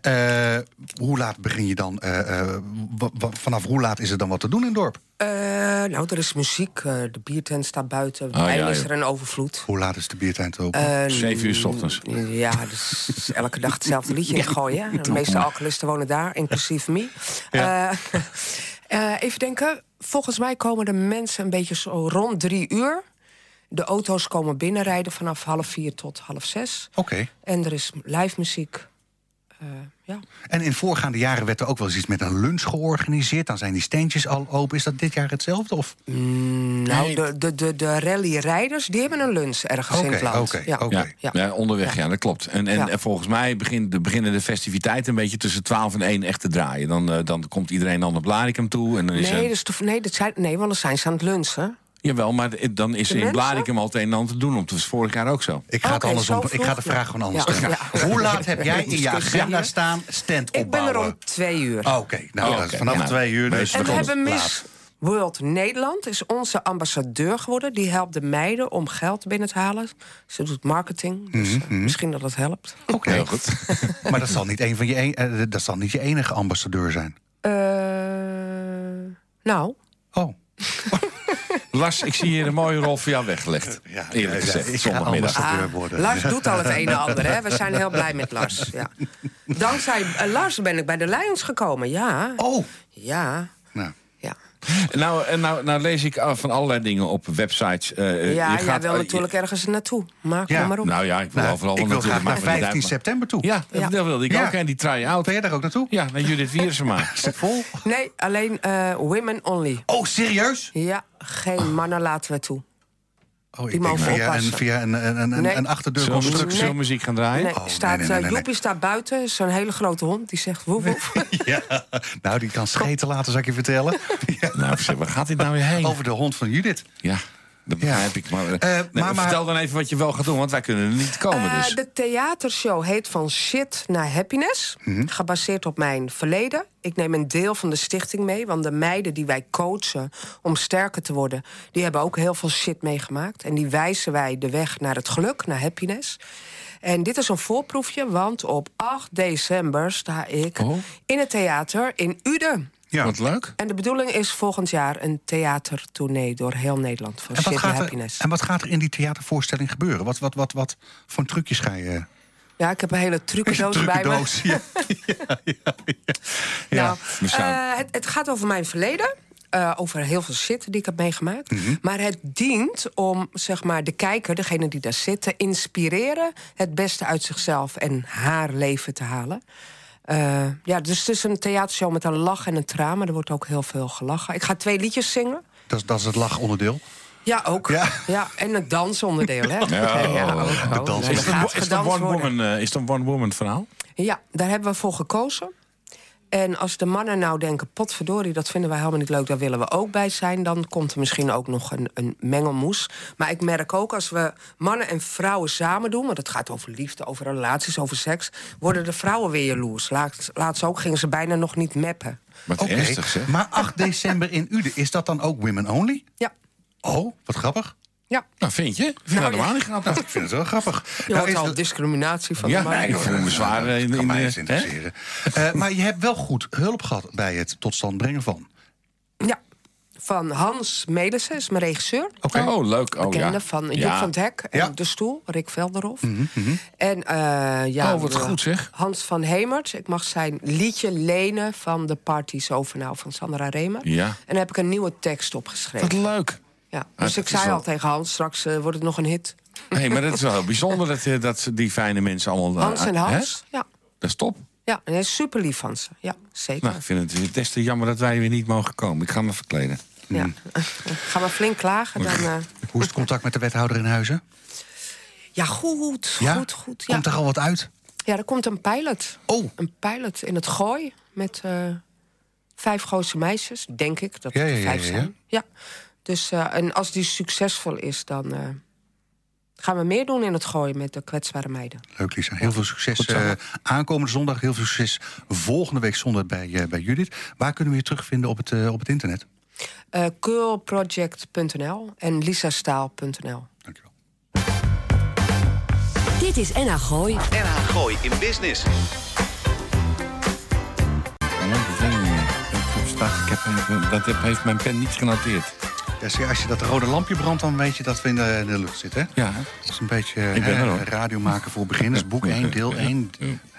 S1: Eh, hoe laat begin je dan? eh, eh, wa- wa- vanaf hoe laat is er dan wat te doen in het dorp?
S5: Eh, nou, er is muziek. eh, de biertent staat buiten.
S2: Ah,
S5: Wijn
S2: ja,
S5: is
S2: joh.
S5: er een overvloed.
S1: Hoe laat is de biertent open?
S5: Eh,
S2: Zeven uur 's ochtends.
S5: Ja, dus elke dag hetzelfde liedje in te gooien. hè. De meeste alcoholisten wonen daar, inclusief me. Eh, eh, even denken. Volgens mij komen de mensen een beetje zo rond drie uur. De auto's komen binnenrijden vanaf half vier tot half zes.
S1: Oké.
S5: En er is live muziek. Eh, ja.
S1: En in voorgaande jaren werd er ook wel eens iets met een lunch georganiseerd. Dan zijn die steentjes al open. Is dat dit jaar hetzelfde? Of?
S5: Nou, de, de, de, de rallyrijders, die hebben een lunch ergens in het
S1: Oké,
S5: land.
S1: oké,
S5: ja.
S1: oké.
S2: Ja, ja.
S5: Ja.
S2: onderweg, ja. dat klopt. En, en,
S5: Ja.
S2: en volgens mij begin, de, beginnen de festiviteiten een beetje tussen 12 en 1 echt te draaien. Dan, eh, dan komt iedereen dan naar Blarikum toe. En dan is
S5: Nee,
S2: er-
S5: dus de- nee, dat zijn, nee, want dan zijn ze aan het lunchen.
S2: Jawel, maar de- dan is
S5: De
S2: er in
S5: mensen?
S2: Blarikum al het een en ander te doen. Want dat was vorig jaar ook zo.
S1: Ik ga, het
S5: Oké,
S1: anders
S5: zo
S1: om, ik ga de
S5: vroeg?
S1: vraag gewoon anders
S5: Ja.
S1: stellen.
S5: Ja.
S1: Hoe laat heb jij in je
S5: Discussie
S1: agenda
S5: hier.
S1: staan stand
S5: Ik ben er
S1: opbouwen?
S5: om twee uur.
S1: Oké, nou,
S2: Oh,
S1: dat is
S2: oké.
S1: vanaf
S2: Nou,
S1: twee uur. Dus
S5: En we
S1: dat is
S5: hebben Miss
S1: laat.
S5: World Nederland is onze ambassadeur geworden. Die helpt de meiden om geld binnen te halen. Ze doet marketing, dus
S2: Mhm,
S5: eh, misschien dat dat helpt.
S1: Oké,
S2: Heel goed.
S1: maar dat zal, niet een van je een, eh, dat zal niet je enige ambassadeur zijn.
S5: Eh, nou,
S1: Oh.
S2: Lars, ik zie hier een mooie rol voor jou weggelegd. Eerlijk gezegd,
S1: ik ga
S2: zondagmiddag.
S1: ambassadeur worden.
S5: Ah, Lars doet al het een en ander. Hè. We zijn heel blij met Lars. Ja. Dankzij eh, Lars ben ik bij de Lions gekomen, ja.
S1: Oh,
S5: Ja,
S1: nou.
S5: ja.
S2: Nou, eh, nou, nou lees ik af van allerlei dingen op websites. Eh,
S5: ja
S2: je
S5: jij
S2: gaat-
S5: wil
S2: eh,
S5: natuurlijk ergens naartoe. Maar
S1: Ja,
S5: kom maar op.
S2: Nou ja, ik wil
S1: Nou,
S2: overal
S1: ik wil
S2: wel
S1: graag
S2: natuurlijk,
S1: naar
S2: maar het
S1: 15
S2: bedrijf-
S1: september toe.
S2: Ja,
S5: Ja.
S2: dat wilde ik
S1: Ja.
S2: ook. En die try-out.
S1: Ben jij daar ook naartoe?
S2: Ja, naar Judith Wiersema.
S1: Is het vol?
S5: Nee, alleen eh, women only.
S1: Oh, serieus?
S5: Ja,
S1: Ah.
S5: geen mannen laten we toe.
S1: Oh,
S5: Die
S1: ik denk
S5: mogen
S1: via een,
S5: oppassen.
S1: via een, een, een,
S5: Nee.
S1: een achterdeurconstructie.
S2: Zullen we
S5: constructie.
S2: zullen we muziek gaan draaien?
S5: Nee,
S1: Oh,
S5: staat,
S1: nee, nee, nee,
S5: eh,
S1: nee.
S5: Joepie staat buiten, zo'n hele grote hond. Die zegt woef woef.
S1: Ja. Nou, die kan scheten laten, zal ik je vertellen. Ja.
S2: Nou, zeg, waar gaat dit nou weer heen?
S1: Over de hond van Judith.
S2: Ja, dat
S1: Ja.
S2: begrijp ik. Maar, eh,
S1: Eh,
S2: nee,
S1: maar- maar-
S2: vertel dan even wat je wel gaat doen, want wij kunnen er niet
S1: Oh,
S2: komen.
S5: Eh,
S2: dus.
S5: de theatershow heet Van Shit naar Happiness.
S1: Mhm.
S5: Gebaseerd op mijn verleden. Ik neem een deel van de stichting mee. Want de meiden die wij coachen om sterker te worden... die hebben ook heel veel shit meegemaakt. En die wijzen wij de weg naar het geluk, naar happiness. En dit is een voorproefje, want op 8 december sta ik
S2: Oh.
S5: in het theater in Uden.
S1: Ja.
S2: Wat leuk.
S5: En de bedoeling is volgend jaar een theatertournee door heel Nederland. Van
S1: En wat,
S5: Shit naar
S1: gaat er,
S5: Happiness.
S1: en wat gaat er in die theatervoorstelling gebeuren? Wat, wat, wat, wat voor trucjes ga je...
S5: Ja, ik heb een hele trucendoos bij me.
S1: Trucendoos, Ja, ja, ja, ja.
S5: Nou,
S2: we staan-
S5: eh, het, het gaat over mijn verleden. eh, over heel veel shit die ik heb meegemaakt.
S1: Mhm.
S5: Maar het dient om zeg maar, de kijker, degene die daar zit, te inspireren het beste uit zichzelf en haar leven te halen. Eh, ja, dus het is een theatershow met een lach en een traan, maar er wordt ook heel veel gelachen. Ik ga twee liedjes zingen.
S1: Dat, is- dat is het lachonderdeel.
S5: Ja, ook.
S1: Ja.
S5: Ja. en het dansonderdeel, hè?
S2: Ja,
S5: ook,
S1: de
S5: ook.
S1: dans.
S5: Er
S2: Is het een,
S5: gaat
S2: is het een
S5: gedanst worden.
S2: one-woman eh, is het een one-woman verhaal?
S5: Ja, daar hebben we voor gekozen. En als de mannen nou denken, potverdorie, dat vinden wij helemaal niet leuk... daar willen we ook bij zijn, dan komt er misschien ook nog een, een mengelmoes. Maar ik merk ook, als we mannen en vrouwen samen doen... want het gaat over liefde, over relaties, over seks... worden de vrouwen weer jaloers. Laatst, laatst ook gingen ze bijna nog niet meppen.
S2: Wat
S1: Oké,
S2: ernstig zeg.
S1: maar 8 december in Uden, is dat dan ook women only?
S5: Ja,
S1: Oh, wat grappig.
S5: ja.
S2: Nou, vind je? Ik vind dat
S5: ja.
S2: helemaal niet
S1: Nou, ik vind het wel grappig.
S5: Je
S1: Nou,
S5: hoort
S1: is
S5: al
S1: het-
S5: discriminatie van
S2: Ja,
S5: de mannen.
S2: nee, ik voel me zwaar eh, in,
S1: kan
S2: in
S1: mij
S2: eh,
S1: eens
S2: hè?
S1: interesseren. Eh, maar je hebt wel goed hulp gehad bij het tot stand brengen van.
S5: Ja, van Hans Melissen is mijn regisseur.
S2: Oh, leuk. Oh,
S5: bekende
S2: ja.
S5: van Joep
S2: Ja. Mhm,
S5: van het Hek en
S1: Ja.
S5: De Stoel, Rick Velderhof. En eh, ja,
S2: Oh, wat
S5: de-
S2: goed, zeg.
S5: Hans van Hemert, ik mag zijn liedje lenen van de Party Sovenaal van Sandra Remer.
S2: Ja.
S5: En daar heb ik een nieuwe tekst opgeschreven.
S2: Wat leuk.
S5: Ja. Dus
S2: dat is
S5: ik zei
S2: wel-
S5: al tegen Hans, straks eh, wordt het nog een hit.
S2: Nee, maar dat is wel heel bijzonder dat, eh, dat ze die fijne mensen allemaal... eh,
S5: Hans en
S2: hè?
S5: Hans, ja.
S2: Dat is top.
S5: Ja, en hij is super lief van ze. Ja, zeker.
S2: Nou, ik vind het des te jammer dat wij weer niet mogen komen. Ik ga me verkleden.
S5: Ja.
S2: mm.
S5: Ga maar flink klagen. Dan, eh,
S1: Hoe is het contact met de wethouder in Huizen?
S5: Ja, goed, goed, goed. Ja.
S1: Komt er al wat uit?
S5: Ja, er komt een pilot.
S1: Oh.
S5: Een pilot in het gooi met eh, vijf Gooise meisjes, denk ik. Dat
S1: Ja,
S5: het
S1: ja,
S5: er
S1: ja,
S5: vijf
S1: ja, ja.
S5: zijn. Ja. Dus, eh, en als die succesvol is, dan eh, gaan we meer doen in het gooi met de kwetsbare meiden.
S1: Leuk, Lisa. Heel veel succes eh, aankomende zondag. Heel veel succes volgende week zondag bij, eh, bij Judith. Waar kunnen we je terugvinden op het, eh, op het internet?
S5: Eh curlproject.nl en lisastaal.nl.
S1: Dankjewel.
S6: Dit is NH Gooi.
S4: NH Gooi in Business.
S2: Ik heb, dat heb- heeft mijn pen niet genoteerd.
S1: Ja, zie je, als je dat rode lampje brandt, dan weet je dat we in de, in de lucht zitten. Hè?
S2: Ja, hè?
S1: Dat is een beetje
S2: Ik ben
S1: hè,
S2: er, hoor.
S1: radio maken voor beginners. Boek 1, deel 1.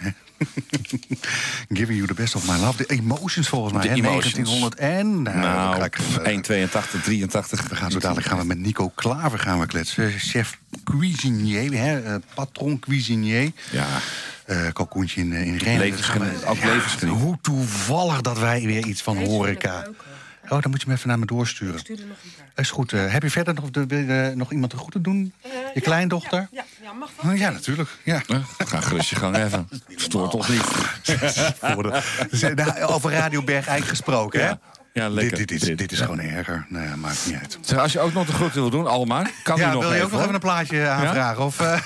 S1: Giving you the best of my love. The emotions volgens mij.
S2: The
S1: hè?
S2: emotions.
S1: 1900 en... Nou, dan
S2: Nou,
S1: ga ik, eh,
S2: 1,82, 83.
S1: We gaan zo dadelijk gaan we met Nico Klaver gaan we kletsen. Chef cuisinier, hè, eh, patron cuisinier.
S2: Ja.
S1: Eh, kalkoentje in, eh, in Rennes.
S2: Levensgeni-
S1: Dus gaan we-
S2: ook levensgeniet.
S1: Hoe toevallig dat wij weer iets van horeca... Oh, dan moet je hem even naar me doorsturen. Is goed. eh, heb je verder nog, de, wil je eh, nog iemand een goede doen? je kleindochter? Eh, Ja,
S5: mag
S1: ja, natuurlijk. Ja.
S2: Huh? Ga gerust je gang even. Stoort toch niet.
S1: Voor de- ze- nou, Over Radio Bergijk gesproken,
S2: Ja.
S1: hè?
S2: Ja, lekker.
S1: Dit, dit, is-
S2: Dit.
S1: dit is gewoon erger. Nee, maakt niet uit.
S2: Zeg, als je ook nog de groeten wil doen, allemaal. Kan die
S1: Ja,
S2: nog
S1: wil je
S2: even,
S1: ook nog
S2: hoor.
S1: even een plaatje aanvragen? Of, eh,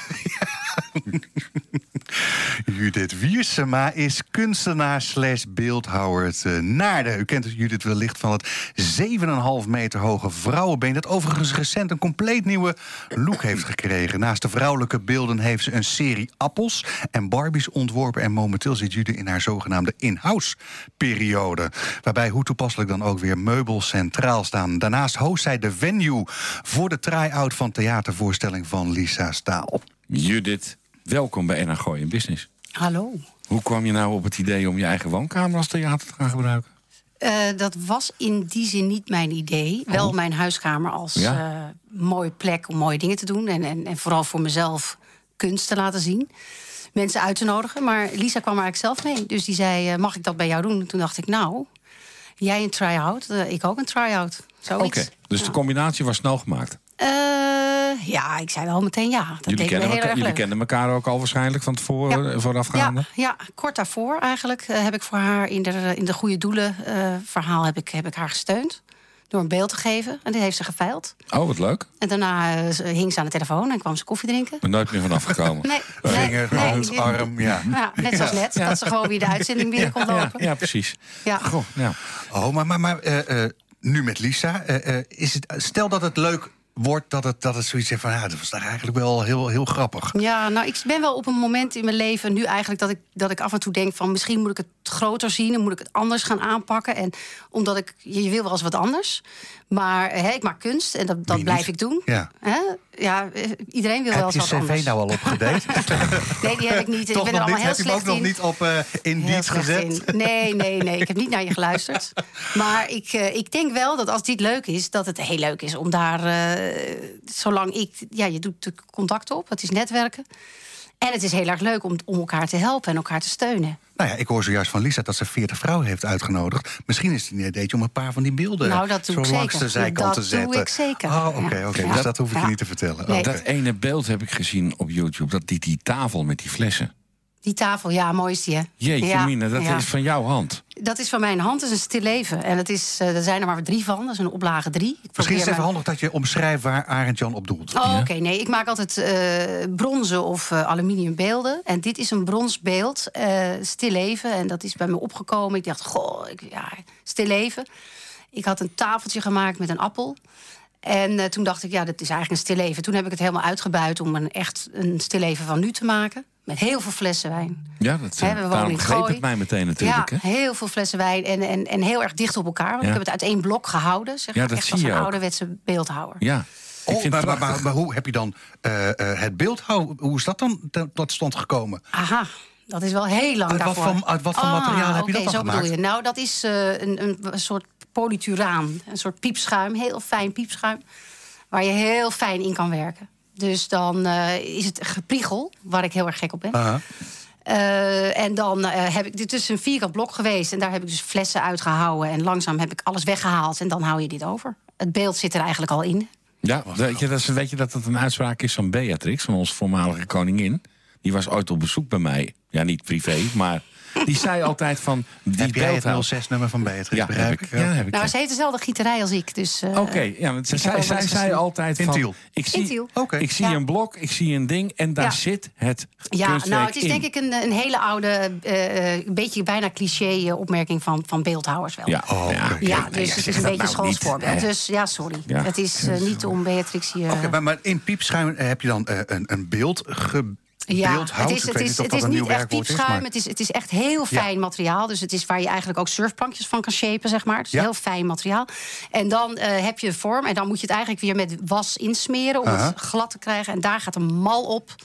S1: Judith Wiersema is kunstenaar slash beeldhouwer uit eh, Naarden. U kent het Judith wellicht van het 7,5 meter hoge vrouwenbeen... dat overigens recent een compleet nieuwe look heeft gekregen. Naast de vrouwelijke beelden heeft ze een serie appels en Barbies ontworpen... en momenteel zit Judith in haar zogenaamde in-house periode. Waarbij hoe toepasselijk dan ook weer meubels centraal staan. Daarnaast host zij de venue voor de try-out van theatervoorstelling van Lisa Staal.
S2: Judith, welkom bij NH Gooi in Business.
S3: Hallo.
S2: Hoe kwam je nou op het idee om je eigen woonkamer als theater te gaan gebruiken?
S7: Eh, dat was in die zin niet mijn idee. Wel mijn huiskamer als
S2: Oh. Ja.
S7: eh, mooie plek om mooie dingen te doen. En, en, en vooral voor mezelf kunst te laten zien. Mensen uit te nodigen. Maar Lisa kwam er eigenlijk zelf mee. Dus die zei, eh, mag ik dat bij jou doen? En toen dacht ik, nou, jij een try-out. eh, ik ook een try-out. Zoiets.
S2: Oké, dus de combinatie was snel gemaakt.
S7: Eh, ja, ik zei wel meteen ja. Dat
S2: jullie
S7: deed me
S2: kennen,
S7: heel
S2: elkaar,
S7: erg
S2: jullie
S7: leuk.
S2: kennen elkaar ook al waarschijnlijk van tevoren, eh, voorafgaande.
S7: Ja, ja, kort daarvoor eigenlijk eh, heb ik voor haar in de, in de goede doelen eh, verhaal heb ik, heb ik haar gesteund. Door een beeld te geven. En die heeft ze geveild.
S2: Oh, wat leuk.
S7: En daarna eh, ze- hing ze aan de telefoon en kwam ze koffie drinken.
S2: Ik ben nooit meer vanaf gekomen.
S7: Nee, nee,
S1: Vinger,
S7: nee,
S1: hand,
S7: dit-
S1: arm, ja.
S7: Ja, net zoals net, dat ze gewoon weer de uitzending binnen kon
S2: ja,
S7: lopen.
S2: ja, precies.
S7: Ja.
S2: Goh, nou, ja.
S1: Oh, maar, maar, maar eh, eh, nu met Lisa, eh, eh, is het, stel dat het leuk wordt, dat het, dat het zoiets heeft van... Ja, dat was daar eigenlijk wel heel, heel grappig.
S7: Ja, nou, ik ben wel op een moment in mijn leven nu eigenlijk dat ik, dat ik af en toe denk van misschien moet ik het groter zien en moet ik het anders gaan aanpakken. En omdat ik, je, je wil wel eens wat anders. Maar hè, ik maak kunst en dat, dat
S1: niet?
S7: blijf ik doen.
S1: Ja.
S7: Hè? ja, eh, iedereen wil wel
S1: Heb
S7: eens
S1: je
S7: wat
S1: cv
S7: anders.
S1: nou al opgedate?
S7: Nee, die heb ik niet. Dus ik
S1: Toch
S7: ben er
S1: nog
S7: allemaal
S1: niet? Heb
S7: heel
S1: je hem
S7: slecht
S1: ook nog
S7: in.
S1: niet op eh
S7: Heel
S1: Indeed
S7: slecht
S1: gezet?
S7: in. Nee, nee, nee. Ik heb niet naar je geluisterd. Maar ik, eh, ik denk wel dat als dit leuk is, dat het heel leuk is om daar. eh, zolang ik. Ja, je doet de contacten op, het is netwerken. En het is heel erg leuk om, om elkaar te helpen en elkaar te steunen.
S1: Nou ja, ik hoor zojuist van Lisa dat ze 40 vrouwen heeft uitgenodigd. Misschien is het een ideetje om een paar van die beelden
S7: Nou, dat doe
S1: zo
S7: ik
S1: langs
S7: zeker.
S1: de zijkant
S7: Dat
S1: te
S7: doe
S1: zetten.
S7: ik zeker.
S1: Oh, oké,
S7: Ja.
S1: oké.
S7: Ja.
S1: Dus dat hoef ik je
S7: Ja.
S1: niet te vertellen.
S7: Nee.
S1: Oké.
S2: Dat ene beeld heb ik gezien op YouTube. Dat die, die tafel met die flessen.
S7: Die tafel, ja, mooi is die, hè?
S2: Jeetje,
S7: ja,
S2: Mina, dat
S7: ja.
S2: is van jouw hand.
S7: Dat is van mijn hand, dat is een stil leven. En dat is, eh, er zijn er maar drie van, dat is een oplage drie. Ik probeer
S1: Misschien is het even
S7: mijn-
S1: handig dat je omschrijft waar Arend Jan op doelt.
S7: Oh, oké. Nee, ik maak altijd eh, bronzen of eh, aluminium beelden. En dit is een brons beeld, eh, stil leven. En dat is bij me opgekomen. Ik dacht, goh, ik, ja, stil leven. Ik had een tafeltje gemaakt met een appel. En eh, toen dacht ik, ja, dat is eigenlijk een stil leven. Toen heb ik het helemaal uitgebuit om een echt een stil leven van nu te maken. Met heel veel flessen wijn.
S2: Ja, dat,
S7: Hè,
S2: eh,
S7: we wonen
S2: daarom
S7: in
S2: greep
S7: Gooi.
S2: het mij meteen natuurlijk.
S7: Ja,
S2: hè?
S7: heel veel flessen wijn en, en, en heel erg dicht op elkaar. Want
S2: Ja.
S7: ik heb het uit één blok gehouden. Zeg
S2: Ja,
S7: maar,
S2: dat
S7: echt
S2: zie
S7: als
S2: je
S7: een
S2: ook.
S7: ouderwetse beeldhouwer.
S2: Ja. Ik
S1: Oh,
S2: vind het
S1: maar, maar, maar,
S2: prachtig.
S1: maar hoe heb je dan eh, eh, het beeld? Hoe, hoe is dat dan te- tot stand gekomen?
S7: Aha, dat is wel heel lang
S1: Uit wat
S7: daarvoor. Ah,
S1: voor- uit wat voor materiaal heb je dat
S7: oké,
S1: dan
S7: zo
S1: gemaakt?
S7: bedoel je. Nou, dat is eh, een, een soort polyturaan. Een soort piepschuim, heel fijn piepschuim. Waar je heel fijn in kan werken. Dus dan eh, is het gepriegel, waar ik heel erg gek op ben.
S1: Aha.
S7: Eh, en dan eh, heb ik... Dit is een vierkant blok geweest. En daar heb ik dus flessen uitgehouden. En langzaam heb ik alles weggehaald. En dan hou je dit over. Het beeld zit er eigenlijk al in.
S2: Ja, weet je, dat is, weet je dat dat een uitspraak is van Beatrix, van onze voormalige koningin? Die was ooit op bezoek bij mij. Ja, niet privé, maar die zei altijd van... Die
S1: Heb jij
S2: beeldhouw-
S1: het 06-nummer van Beatrix?
S2: Ja,
S1: begrijp
S2: heb Dus ik.
S1: ik.
S2: Ja, heb ik.
S7: Nou,
S2: ja.
S7: ze heeft dezelfde gieterij als ik. Dus, eh,
S2: Oké, ja, want ze-
S7: ik
S2: zij
S7: heb ook wel
S2: zij
S7: eens
S2: zei
S7: gezien.
S2: altijd
S1: In
S2: van...
S1: Tiel.
S2: Ik zie,
S7: In Tiel.
S1: Oké.
S2: ik zie
S7: Ja.
S2: een blok, ik zie een ding en daar
S7: Ja.
S2: zit het
S7: Ja,
S2: kunstwerk
S7: nou, het is
S2: in.
S7: denk ik een, een hele oude, eh, eh, een beetje bijna cliché eh, opmerking van, van beeldhouwers wel.
S2: Ja,
S1: Oh,
S2: ja,
S1: oké.
S7: Ja,
S2: ja,
S7: dus
S2: zeg
S7: het is een
S2: dat
S7: beetje een
S2: nou niet,
S7: schoolsvoorbeeld.
S2: hè.
S7: Dus ja, sorry.
S2: Ja.
S7: Het is eh, niet om Beatrix hier...
S1: Oké, maar, maar in piepschuim eh, heb je dan eh, een, een beeld gebeeldhouwd.
S7: ja,
S1: Ik
S7: het is,
S1: weet
S7: het is,
S1: niet of
S7: het
S1: dat
S7: is
S1: een nieuw
S7: niet echt
S1: werkwoord is.
S7: piepschuim.
S1: Maar...
S7: Het is, het is echt heel fijn materiaal. Dus het is waar je eigenlijk ook surfplankjes van kan shapen, zeg maar. Het is
S1: Ja.
S7: heel fijn materiaal. En dan eh, heb je een vorm. En dan moet je het eigenlijk weer met was insmeren om
S1: Aha.
S7: het glad te krijgen. En daar gaat een mal op.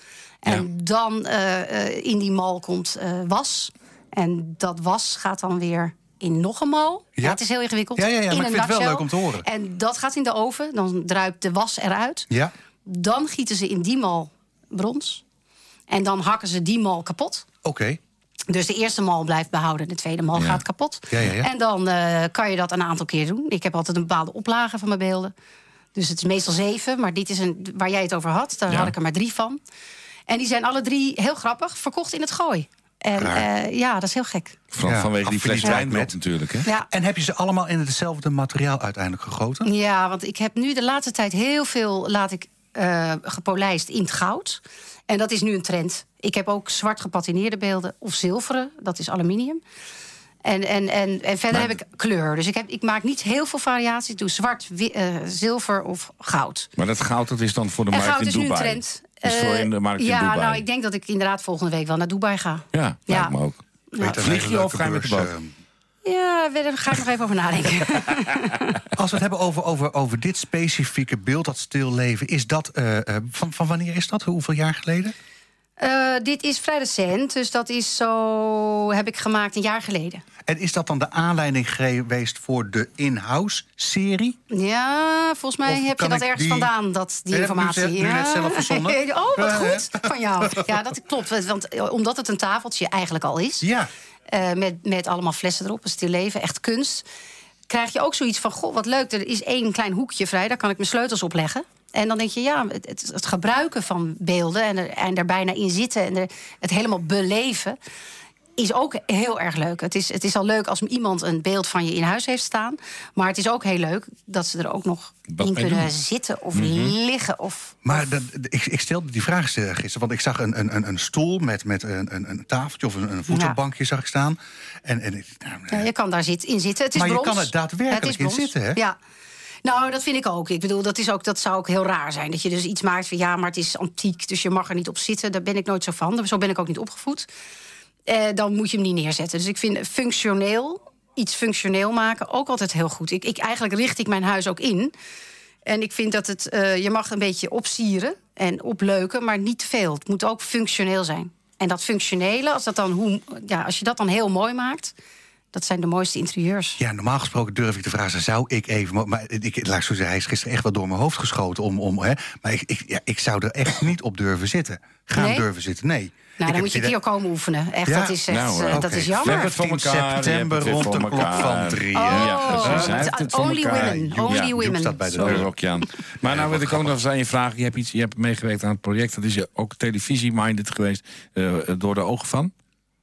S7: En dan eh, eh, in die mal komt eh, was. En dat was gaat dan weer in nog een mal. Ja.
S1: Ja.
S7: het is heel ingewikkeld.
S1: Ja, ja, ja, maar
S7: in
S1: ik
S7: een
S1: vind het wel
S7: nutshell.
S1: leuk om te horen.
S7: En dat gaat in de oven. Dan druipt de was eruit.
S1: Ja,
S7: Dan gieten ze in die mal brons. En dan hakken ze die mal kapot.
S1: oké.
S7: Dus de eerste mal blijft behouden, de tweede mal gaat kapot.
S1: Ja, ja, ja.
S7: En dan eh, kan je dat een aantal keer doen. Ik heb altijd een bepaalde oplage van mijn beelden. Dus het is meestal zeven, maar dit is een, waar jij het over had. Daar
S2: Ja.
S7: had ik er maar drie van. En die zijn alle drie, heel grappig, verkocht in het gooi. En
S1: Raar.
S7: eh, ja, dat is heel gek.
S2: Van,
S1: Ja,
S2: vanwege die fles
S1: affiniteit
S2: wijn
S1: met-
S2: met natuurlijk, hè?
S7: Ja.
S1: En heb je ze allemaal in hetzelfde materiaal uiteindelijk gegoten?
S7: Ja, want ik heb nu de laatste tijd heel veel laat ik, eh, gepolijst in het goud. En dat is nu een trend. Ik heb ook zwart gepatineerde beelden of zilveren, dat is aluminium. En, en, en, en verder heb ik kleur. Dus ik, heb, ik maak niet heel veel variaties. Ik doe zwart, wi- eh, zilver of goud.
S2: Maar dat goud, dat is dan voor de
S7: En
S2: markt
S7: goud
S2: in
S7: is nu een
S2: Dubai.
S7: trend.
S2: Dat is voor
S7: Eh,
S2: in de markt
S7: ja,
S2: in Dubai.
S7: nou, ik denk dat ik inderdaad volgende week wel naar Dubai ga.
S2: Ja,
S7: Ja.
S2: lijkt me ook.
S1: Weet je, een
S2: Vlieg
S1: hele
S2: je of
S1: leuke
S2: ga je met de
S1: beurs,
S2: boot?
S1: eh,
S7: Ja, daar ga ik nog even over nadenken.
S1: eh, Als we het hebben over, over, over dit specifieke beeld, dat stilleven, is dat. eh, eh, van, van wanneer is dat? Hoeveel jaar geleden?
S7: Eh, dit is vrij recent, dus dat is zo... heb ik gemaakt een jaar geleden.
S1: En is dat dan de aanleiding geweest voor de in-house serie?
S7: Ja, volgens mij
S1: Of
S7: heb je
S1: kan
S7: dat
S1: ik
S7: ergens
S1: die-
S7: vandaan, dat, die
S1: Nee, dat heb ik nu
S7: informatie.
S1: zelf- nu
S7: ja.
S1: net zelf verzonnen.
S7: oh, wat
S1: Ja, hè?
S7: goed van jou. Ja, dat klopt. Want eh, omdat het een tafeltje eigenlijk al is,
S1: Ja.
S7: eh, met, met allemaal flessen erop, een stil leven, echt kunst, krijg je ook zoiets van: Goh, wat leuk, er is één klein hoekje vrij, daar kan ik mijn sleutels op leggen. En dan denk je, ja, het, het, het gebruiken van beelden en er, en er bijna in zitten en er, het helemaal beleven is ook heel erg leuk. Het is, het is al leuk als iemand een beeld van je in huis heeft staan. Maar het is ook heel leuk dat Mhm. ze er ook nog
S2: Wat
S7: in
S2: mee
S7: kunnen
S2: doen.
S7: zitten of liggen. Of,
S1: Maar dat, ik, ik stelde die vraag eh, gisteren, want ik zag een, een, een- een stoel met, met een, een, een tafeltje of een, een voetenbankje zag ik staan. En, en, ik- nou,
S7: Ja, je kan daar zit, in zitten. Het is
S1: Maar je
S7: brons.
S1: kan er daadwerkelijk
S7: Het is
S1: in
S7: brons.
S1: zitten, hè?
S7: Ja. Nou, dat vind ik ook. Ik bedoel, dat, is ook. dat zou ook heel raar zijn. Dat je dus iets maakt van ja, maar het is antiek, dus je mag er niet op zitten. Daar ben ik nooit zo van. Zo ben ik ook niet opgevoed. Eh, dan moet je hem niet neerzetten. Dus ik vind functioneel iets functioneel maken ook altijd heel goed. Ik, ik, eigenlijk richt ik mijn huis ook in. En ik vind dat het, eh, je mag een beetje opsieren en opleuken, maar niet te veel. Het moet ook functioneel zijn. En dat functionele, als, dat dan hoe, ja, als je dat dan heel mooi maakt, dat zijn de mooiste interieurs.
S1: Ja, normaal gesproken durf ik te vragen, zou ik even... mo- Maar ik, laat ik zo zeggen, hij is gisteren echt wel door mijn hoofd geschoten. Om, om, hè, maar ik, ik, ja, ik zou er echt niet op durven zitten. Gaan
S7: Nee?
S1: durven zitten, nee. Ik heb
S7: Nou, dan moet
S1: het
S7: je
S1: idee-
S7: hier komen oefenen. Echt,
S1: Ja?
S7: dat is echt,
S2: Nou,
S7: eh,
S1: Oké.
S7: dat is
S2: We hebben
S7: jammer.
S2: het voor
S1: 15
S2: elkaar. je hebt
S1: september
S2: het weer
S1: rond
S2: voor
S1: de klok
S2: elkaar.
S1: van drie. hè.
S7: Oh,
S2: Ja, precies. Hij heeft het voor
S7: only
S2: elkaar.
S7: women.
S2: Ja,
S7: Only
S2: Joep
S7: women.
S1: staat bij de
S7: Sorry.
S1: deur.
S2: Rokje aan. Maar nou wil ik ook nog eens aan je vragen. Je hebt, iets, je hebt meegewerkt aan het project. Dat is je ook televisie-minded geweest. eh, door de ogen van.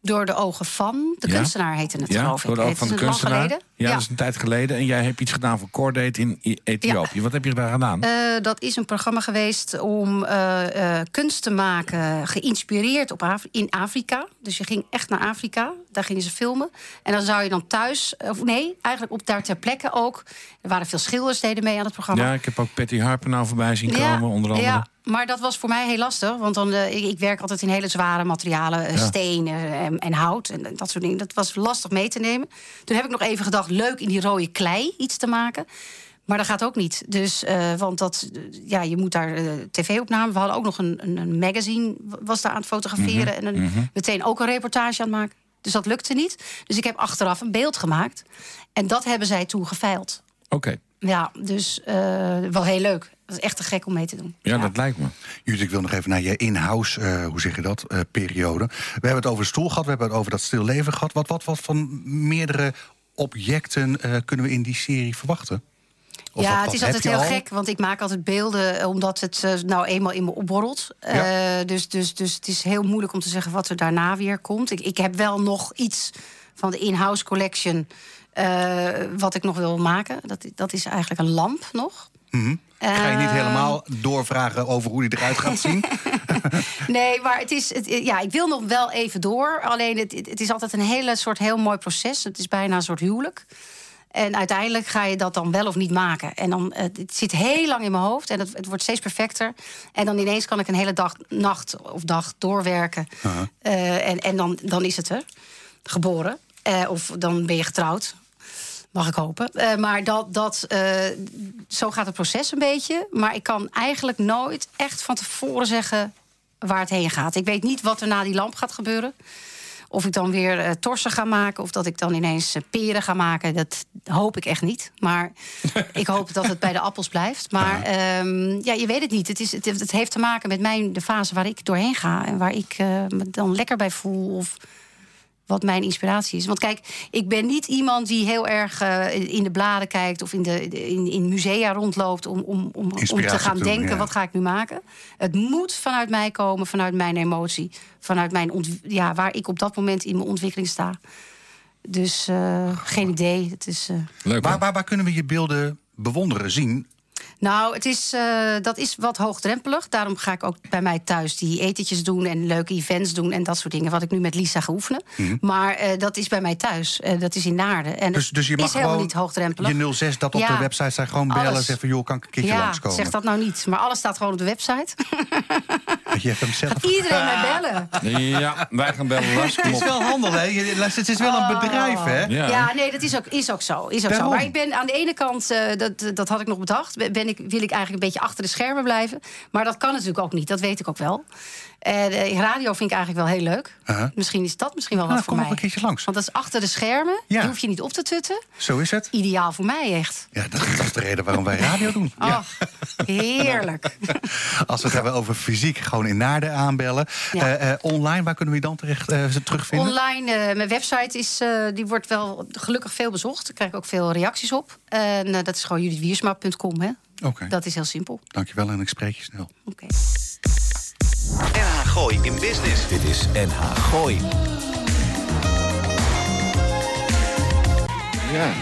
S7: Door de ogen van de
S2: Ja?
S7: kunstenaar heette het,
S2: ja,
S7: geloof ik.
S2: door de ogen
S7: Het
S2: van
S7: is
S2: de
S7: lang
S2: kunstenaar.
S7: geleden.
S2: Ja, dus-
S7: Ja.
S2: dat is een tijd geleden. En jij hebt iets gedaan voor Cordate in I- Ethiopië. Wat heb je daar gedaan?
S7: Eh, dat is een programma geweest om eh, eh, kunst te maken, geïnspireerd op Af- in Afrika. Dus je ging echt naar Afrika, daar gingen ze filmen. En dan zou je dan thuis, eh, of nee, eigenlijk op daar ter plekke ook. Er waren veel schilders deden mee aan het programma.
S2: ja, ik heb ook Patty Harper nou voorbij zien komen, onder andere.
S7: Ja, maar dat was voor mij heel lastig. Want dan, eh, ik, ik werk altijd in hele zware materialen. eh,
S2: Ja.
S7: Stenen en, en hout en dat soort dingen. Dat was lastig mee te nemen. Toen heb ik nog even gedacht, leuk in die rode klei iets te maken. Maar dat gaat ook niet. Dus, eh, want dat, eh, ja, je moet daar eh, tv-opnamen. We hadden ook nog een, een, een magazine was daar aan het fotograferen.
S2: Mhm,
S7: En een, meteen ook een reportage aan het maken. Dus dat lukte niet. Dus ik heb achteraf een beeld gemaakt. En dat hebben zij toen geveild.
S2: Oké,
S7: Ja, dus eh, wel heel leuk. Dat is echt te gek om mee te doen.
S2: ja, dat lijkt me.
S1: Judith, ik wil nog even naar je in-house, eh, hoe zeg je dat, eh, periode. We hebben het over de stoel gehad, we hebben het over dat stil leven gehad. Wat, wat, wat van meerdere objecten eh, kunnen we in die serie verwachten? Of
S7: ja,
S1: wat-
S7: het is
S1: wat
S7: altijd
S1: heb
S7: heel
S1: je al?
S7: gek, want ik maak altijd beelden eh, omdat het eh, nou eenmaal in me opborrelt. Eh, dus, dus, dus het is heel moeilijk om te zeggen wat er daarna weer komt. Ik, ik heb wel nog iets van de in-house collection eh, wat ik nog wil maken. Dat, dat is eigenlijk een lamp nog.
S1: Ga je niet
S7: Eh,
S1: helemaal doorvragen over hoe die eruit gaat zien?
S7: Nee, maar het is, het, eh, ja, ik wil nog wel even door. Alleen het, het is altijd een hele soort heel mooi proces. Het is bijna een soort huwelijk. En uiteindelijk ga je dat dan wel of niet maken. En dan, eh, het zit heel lang in mijn hoofd en het, het wordt steeds perfecter. En dan ineens kan ik een hele dag, nacht of dag doorwerken. Eh, en en dan, dan is het er. Geboren. Eh, of dan ben je getrouwd. Mag ik hopen. Eh, maar dat, dat, eh, zo gaat het proces een beetje. Maar ik kan eigenlijk nooit echt van tevoren zeggen waar het heen gaat. Ik weet niet wat er na die lamp gaat gebeuren. Of ik dan weer eh, torsen ga maken. Of dat ik dan ineens eh, peren ga maken. Dat hoop ik echt niet. Maar ik hoop dat het bij de appels blijft. Maar ehm, ja, je weet het niet. Het, is, het, heeft- het heeft te maken met mijn, de fase waar ik doorheen ga. En waar ik eh, me dan lekker bij voel. Of wat mijn inspiratie is. Want kijk, ik ben niet iemand die heel erg eh, in de bladen kijkt of in, de, in, in musea rondloopt om, om, om, om
S1: Inspiratie
S7: te gaan
S1: opdoen,
S7: denken:
S1: ja.
S7: wat ga ik nu maken? Het moet vanuit mij komen, vanuit mijn emotie, vanuit mijn ont- ja, waar ik op dat moment in mijn ontwikkeling sta. Dus eh, geen idee. Het is. eh,
S2: Leuk.
S1: Waar,
S2: hoor.
S1: waar, waar kunnen we je beelden bewonderen, zien?
S7: Nou, het is, eh, dat is wat hoogdrempelig. Daarom ga ik ook bij mij thuis die etentjes doen en leuke events doen en dat soort dingen. Wat ik nu met Lisa ga oefenen. Maar eh, dat is bij mij thuis. Eh, dat is in Naarden. En
S1: Mhm. Dus, dus je
S7: het
S1: mag
S7: is helemaal
S1: gewoon
S7: niet hoogdrempelig.
S1: Je 06 dat op
S7: Ja.
S1: de website staat, gewoon bellen en
S7: Alles.
S1: zeggen van joh, kan ik een keertje
S7: ja,
S1: langskomen?
S7: zeg dat nou niet. Maar alles staat gewoon op de website.
S1: Je hebt hem zelf.
S7: Iedereen mij bellen.
S2: Ja, wij gaan bellen Lars. Kom
S1: Het is
S2: op.
S1: wel handel, hè? Je- luister, Het is wel een bedrijf, hè?
S2: Ja.
S7: Ja. nee, dat is ook, is ook, zo, is ook zo.
S1: Daarom.
S7: Maar ik ben aan de ene kant, eh, dat, dat had ik nog bedacht, ben ben ik, wil ik eigenlijk een beetje achter de schermen blijven. Maar dat kan natuurlijk ook niet, dat weet ik ook wel. En eh, radio vind ik eigenlijk wel heel leuk.
S1: Uh-huh.
S7: Misschien is dat misschien wel
S1: Nou,
S7: wat voor
S1: kom
S7: mij.
S1: ook een keertje langs.
S7: Want dat is achter de schermen,
S1: Ja.
S7: die hoef je niet op te tutten.
S1: Zo is het.
S7: Ideaal voor mij echt.
S1: Ja, dat is de reden waarom wij radio doen.
S7: Ach,
S1: Nou,
S7: heerlijk.
S1: Als we het hebben over fysiek, gewoon in Naarden aanbellen.
S7: Ja.
S1: Eh, eh, online, waar kunnen we je dan terecht eh, ze terugvinden?
S7: Online, eh, mijn website is, eh, die wordt wel gelukkig veel bezocht. Daar krijg ik ook veel reacties op. En eh, dat is gewoon judithwiersma.com. hè.
S1: Oké.
S7: Dat is heel simpel.
S1: Dankjewel en ik spreek je snel.
S7: Oké.
S4: NH Gooi in Business. Dit is NH Gooi.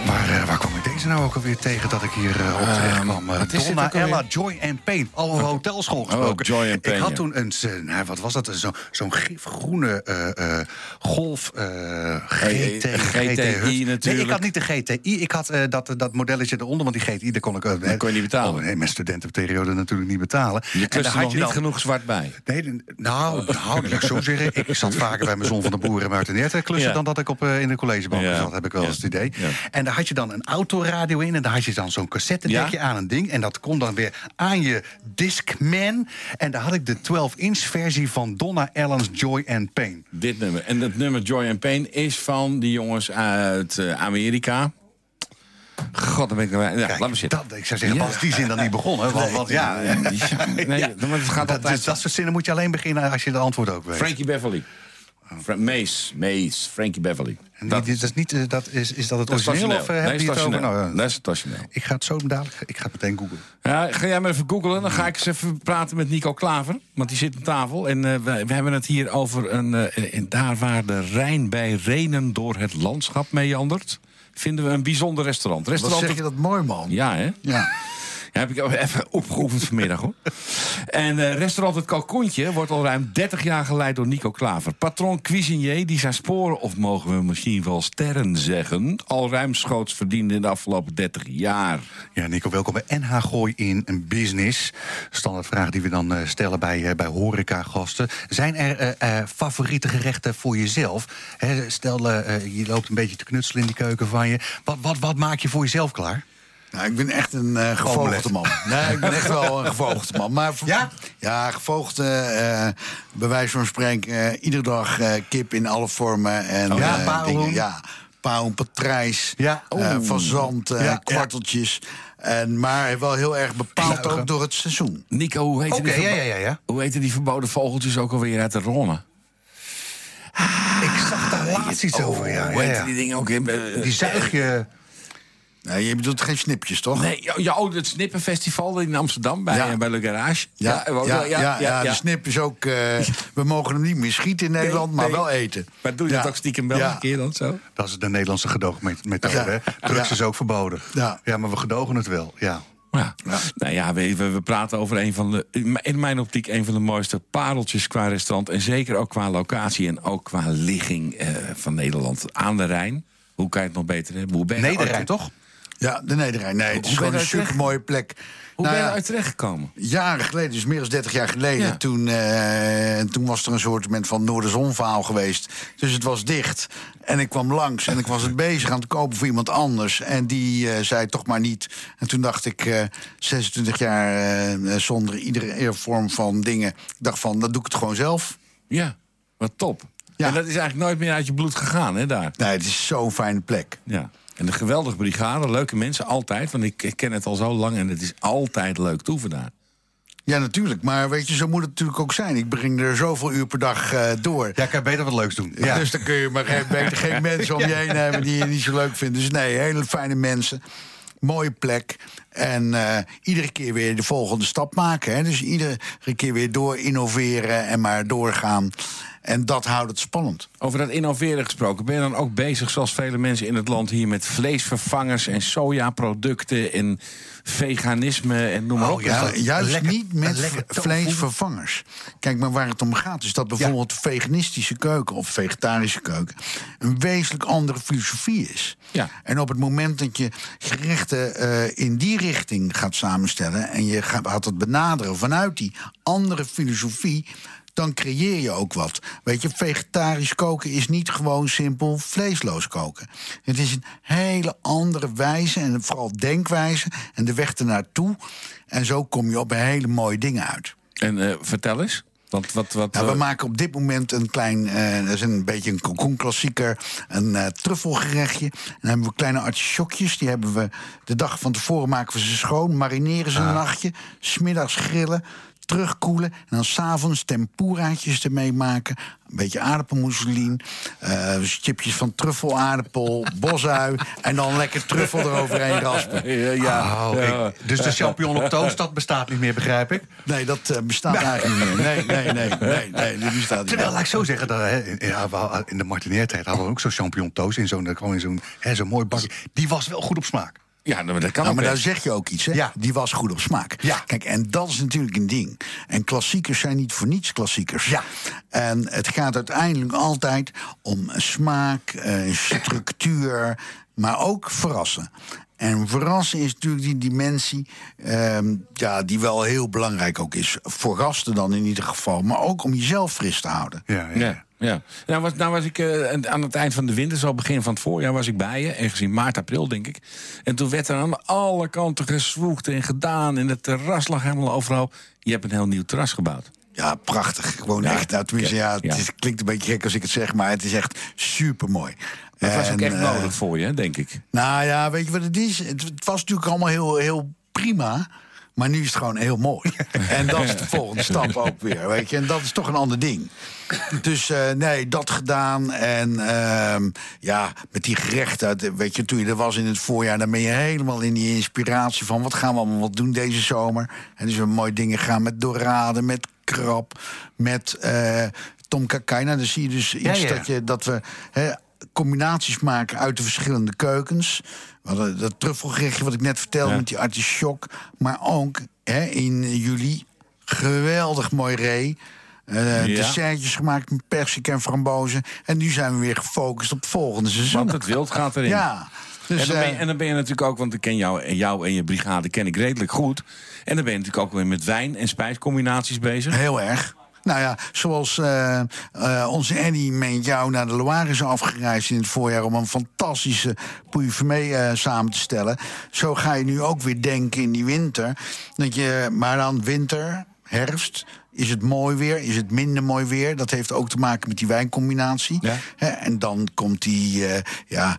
S1: Maar eh, waar kwam ik deze heet ze nou ook alweer tegen dat ik hier eh, op terecht kwam? Eh,
S2: Ehm, wat is dit
S1: Donna,
S2: ook alweer? Oh,
S1: Ella, Joy and Pain. Over hotelschool gesproken.
S2: Joy and Pain,
S1: ik had
S2: ja.
S1: toen een, eh, nou, wat was dat? Zo- Zo'n gifgroene eh, eh, Golf eh, GT.
S2: GTI
S1: GT
S2: natuurlijk.
S1: Nee, ik had niet de GTI. Ik had eh, dat, dat modelletje eronder, want die GTI, daar kon ik... eh,
S2: Dat kon je niet betalen.
S1: Oh, nee, mijn studentenperiode natuurlijk niet betalen.
S2: Je
S1: En daar
S2: klust er
S1: had
S2: nog
S1: je
S2: niet
S1: dan-
S2: genoeg zwart bij.
S1: Nee, de- nou, nou, dat zou ik zo zeggen. Ik zat vaker bij mijn zon van de boer en Martin Herten klussen...
S2: Ja.
S1: dan dat ik op, eh, in de collegebank
S2: Ja.
S1: zat, heb ik wel
S2: Ja.
S1: eens het idee.
S2: Ja.
S1: En daar had je dan een autoradio in... en daar had je dan zo'n cassettedekje
S2: Ja.
S1: aan een ding... en dat kon dan weer aan je Discman. En daar had ik de 12-inch versie van Donna Allen's Joy and Pain.
S2: Dit nummer. En dat nummer Joy and Pain is van die jongens uit eh, Amerika. God, dan ben ik er... Ja,
S1: Kijk,
S2: laat me zitten.
S1: dat- ik zou zeggen,
S2: Ja.
S1: was die zin dan niet begonnen? Want, want ja,
S2: Die- nee, maar het gaat
S1: dat,
S2: altijd...
S1: dus dat soort zinnen moet je alleen beginnen als je de antwoord ook weet.
S2: Frankie Beverly. Fra Mace, Mace, Frankie Beverly.
S1: En die- dit- dat is, niet, eh, dat is, is dat het
S2: Dat is
S1: origineel
S2: origineel.
S1: of eh, heb
S2: Nee,
S1: je
S2: dat
S1: het
S2: is
S1: over?
S2: origineel.
S1: Nou, eh,
S2: Dat is het origineel.
S1: ik ga het zo dadelijk, ik ga het meteen googlen.
S2: Ja, ga jij maar even googlen. Dan ga ik eens even praten met Nico Klaver. Want die zit aan tafel. En eh, we, we hebben het hier over een... eh, in daar waar de Rijn bij Renen door het landschap meandert... vinden we een bijzonder restaurant.
S6: Wat
S2: restaurant
S6: zeg je dat mooi, man.
S2: Ja, hè?
S6: Ja.
S2: Ja, heb ik ook even opgeoefend vanmiddag hoor. En eh, restaurant Het Kalkoentje wordt al ruim 30 jaar geleid door Nico Klaver. Patron cuisinier die zijn sporen, of mogen we misschien wel sterren zeggen, al ruimschoots verdiende in de afgelopen 30 jaar.
S1: Ja, Nico, welkom bij NH Gooi in een Business. Standaardvraag die we dan eh, stellen bij, eh, bij horecagasten. Zijn er eh, eh, favoriete gerechten voor jezelf? Hè, stel, eh, eh, je loopt een beetje te knutselen in die keuken van je. Wat, wat, wat maak je voor jezelf klaar?
S6: Nou, ik ben echt een eh gevogelte man. Nee, ik ben echt wel een gevogelte man. Maar voor-
S1: Ja?
S6: Ja, gevogelte, eh, bij wijze van spreken, eh, iedere dag eh, kip in alle vormen. En,
S1: Oh, ja,
S6: eh,
S1: paarhoen.
S6: dingen. Ja, paarhoen, patrijs,
S1: Ja.
S6: eh, fazant, eh,
S1: Ja, ja.
S6: kwarteltjes. En, maar wel heel erg bepaald ook door het seizoen.
S2: Nico, hoe heette
S1: Oké,
S2: die,
S1: ja,
S2: verbo-
S1: ja, ja, ja.
S2: hoe heette die verboden vogeltjes ook alweer uit de Ronne?
S1: Ik zag daar laatst iets over, ja. ja,
S2: Hoe heette
S1: ja.
S2: Oh, die dingen ook in? eh,
S1: Die zuig je...
S6: Nou, je bedoelt geen snipjes, toch?
S2: Nee, ja, ja, oh, het Snippenfestival in Amsterdam bij,
S6: Ja.
S2: eh, bij Le Garage.
S6: Ja, ja, ja,
S2: ja.
S6: ja, de snip is ook... eh, we mogen hem niet meer schieten in Nederland, maar
S2: nee.
S6: wel eten.
S2: Maar doe je
S6: Ja.
S2: dat ook stiekem wel
S6: Ja.
S2: een keer dan zo?
S1: Dat is de Nederlandse gedoogmethode,
S6: Ja.
S1: hè? Drugs
S6: Ja.
S1: is ook verboden.
S6: Ja.
S1: maar we gedogen het wel, ja.
S2: Ja. Nou ja, we, we, we praten over een van de, in mijn- in mijn optiek, een van de mooiste pareltjes qua restaurant. En zeker ook qua locatie en ook qua ligging eh, van Nederland aan de Rijn. Hoe kan je het nog beter hebben? Hoe ben je er
S1: Nederrijn,
S2: ooit-
S1: toch?
S6: Ja, de Nederrijn. Nee, het is
S2: Hoe ben
S6: gewoon
S2: je
S6: een
S2: daar terecht-
S6: supermooie plek.
S2: Hoe
S6: Nou
S2: ben je
S6: ja,
S2: uit terecht gekomen?
S6: Jaren geleden, dus meer dan 30 jaar geleden,
S2: Ja.
S6: toen, eh, toen was er een soort van Noorderzon-verhaal geweest. Dus het was dicht. En ik kwam langs en ik was het bezig aan het kopen voor iemand anders. En die eh, zei toch maar niet. En toen dacht ik, eh, 26 jaar eh, zonder iedere vorm van dingen. Ik dacht van, dan doe ik het gewoon zelf.
S2: Ja, wat top.
S6: Ja.
S2: En dat is eigenlijk nooit meer uit je bloed gegaan, hè, daar.
S6: Nee, het is zo'n fijne plek.
S2: Ja. En een geweldige brigade, leuke mensen, altijd. Want ik, ik ken het al zo lang en het is altijd leuk toeven daar.
S6: Ja, natuurlijk. Maar weet je, zo moet het natuurlijk ook zijn. Ik breng er zoveel uur per dag eh, door.
S1: Ja, ik kan beter wat leuks doen. Ja.
S6: Dus dan kun je maar geen, beter geen mensen om je heen hebben die je niet zo leuk vindt. Dus nee, hele fijne mensen. Mooie plek. En eh, iedere keer weer de volgende stap maken. Hè? Dus iedere keer weer door innoveren en maar doorgaan. En dat houdt het spannend.
S2: Over dat innoveren gesproken, ben je dan ook bezig, zoals vele mensen in het land hier, met vleesvervangers en sojaproducten en veganisme en noem maar op?
S6: Oh, ja,
S1: dat-
S6: juist
S1: lekker-
S6: niet met
S1: een lekker
S6: v-
S1: tofu.
S6: vleesvervangers. Kijk maar waar het om gaat. Is dat bijvoorbeeld veganistische keuken of vegetarische keuken een wezenlijk andere filosofie is.
S2: Ja.
S6: En op het moment dat je gerechten eh, in die richting gaat samenstellen en je gaat gaat het benaderen vanuit die andere filosofie. Dan creëer je ook wat. Weet je, vegetarisch koken is niet gewoon simpel vleesloos koken. Het is een hele andere wijze en vooral denkwijze en de weg ernaartoe. En zo kom je op hele mooie dingen uit.
S2: En eh, vertel eens. Want wat, wat,
S6: Nou, we
S2: eh,
S6: maken op dit moment een klein, eh, dat is een beetje een kalkoenklassieker, een eh, truffelgerechtje. En dan hebben we kleine artisjokjes, die hebben we de dag van tevoren maken we ze schoon, marineren ze een nachtje, smiddags grillen, terugkoelen en dan s'avonds tempuraatjes ermee maken. Een beetje aardappelmousseline, eh, chipjes van truffelaardappel, bosui en dan lekker truffel eroverheen raspen.
S2: eh, ja,
S1: Oh,
S2: ja.
S1: ik- dus de champignon op toast, dat bestaat niet meer, begrijp ik.
S6: Nee, dat eh, bestaat eigenlijk niet meer. Nee, nee, nee, nee, nee, dat bestaat niet
S1: Terwijl,
S6: meer.
S1: laat ik zo zeggen, dat, hè, in, ja, we- eh, in de martineertijd hadden we ook zo'n champignon toast. In zo'n, gewoon in zo'n, hè, zo'n mooi bakje. Die was wel goed op smaak.
S2: Ja, nou, maar dat kan
S6: Nou,
S2: ook
S6: maar daar
S2: best.
S6: zeg je ook iets, hè?
S1: Ja.
S6: Die was goed op smaak.
S1: Ja.
S6: Kijk, en dat is natuurlijk een ding. En klassiekers zijn niet voor niets klassiekers.
S1: Ja.
S6: En het gaat uiteindelijk altijd om smaak, eh, structuur, maar ook verrassen. En verrassen is natuurlijk die dimensie ehm, ja, die wel heel belangrijk ook is. Voor gasten dan in ieder geval, maar ook om jezelf fris te houden.
S1: Ja, ja.
S2: Ja. Ja, nou was, nou was ik eh, aan- aan het eind van de winter, zo begin van het voorjaar, was ik bij je. Ergens in maart, april, denk ik. En toen werd er aan alle kanten geswoegd en gedaan. En het terras lag helemaal overal. Je hebt een heel nieuw terras gebouwd.
S6: Ja, prachtig. Gewoon
S2: Ja,
S6: echt. Nou, tenminste, ja, het
S2: ja.
S6: is- klinkt een beetje gek als ik het zeg, maar het is echt eh, super mooi.
S2: Dat was ook echt
S6: nodig.
S2: nodig voor je, denk ik.
S6: Nou ja, weet je wat het is? Het, het was natuurlijk allemaal heel, heel prima. Maar nu is het gewoon heel mooi. En dat is de volgende stap ook weer. Weet je? En dat is toch een ander ding. Dus eh, nee, dat gedaan. En ehm, ja, met die gerechten. het- Weet je, toen je er was in het voorjaar. Dan ben je helemaal in die inspiratie van... wat gaan we allemaal wat doen deze zomer? En dus we mooie dingen gaan met dorade, met krab, met eh tom kakai. Nou, dan zie je dus iets
S1: ja.
S6: dat je dat we hè, combinaties maken uit de verschillende keukens. We hadden dat truffelgerechtje wat ik net vertelde met die artichok. Maar ook hè, in juli geweldig mooi ree. Eh
S2: Ja.
S6: Dessertjes gemaakt met persik en frambozen. En nu zijn we weer gefocust op het volgende seizoen.
S2: Want het wild gaat erin.
S6: Ja, dus,
S2: en, dan ben je,
S6: eh,
S2: en dan ben je natuurlijk ook, want ik ken jou en jou en je brigade ken ik redelijk goed. En dan ben je natuurlijk ook weer met wijn en spijscombinaties bezig.
S6: Heel erg. Nou ja, zoals eh, eh, onze Annie meent jou naar de Loire is afgereisd in het voorjaar om een fantastische Pouilly samen te stellen. Zo ga je nu ook weer denken in die winter. Dat je, maar dan winter, herfst. Is het mooi weer? Is het minder mooi weer? Dat heeft ook te maken met die wijncombinatie.
S2: Ja.
S6: Hè, en dan komt die eh, ja,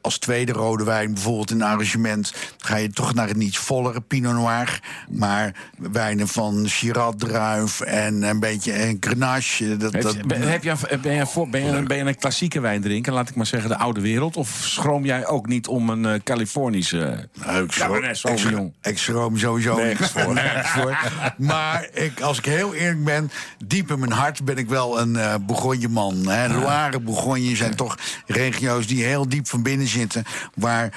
S6: als tweede rode wijn bijvoorbeeld in een arrangement... ga je toch naar een iets vollere Pinot Noir. Maar wijnen van Shiraz druif en een beetje een Grenache... Dat,
S2: Heb,
S6: dat,
S2: je- ben, eh, heb jij- ben, jij voor, ben, je, ben je een klassieke wijn drinken, laat ik maar zeggen, de oude wereld? Of schroom jij ook niet om een eh, Californische eh,
S6: Nou, ik schroom-
S2: Cabernet
S6: ik schroom-
S2: Sauvignon?
S6: Ik schroom sowieso niks, voor. Nergens voor. Maar ik, als ik heel eerlijk ben, diep in mijn hart ben ik wel een eh Bourgonje-man. Hè. Loire, Bourgogne zijn toch regio's die heel diep van binnen zitten. Waar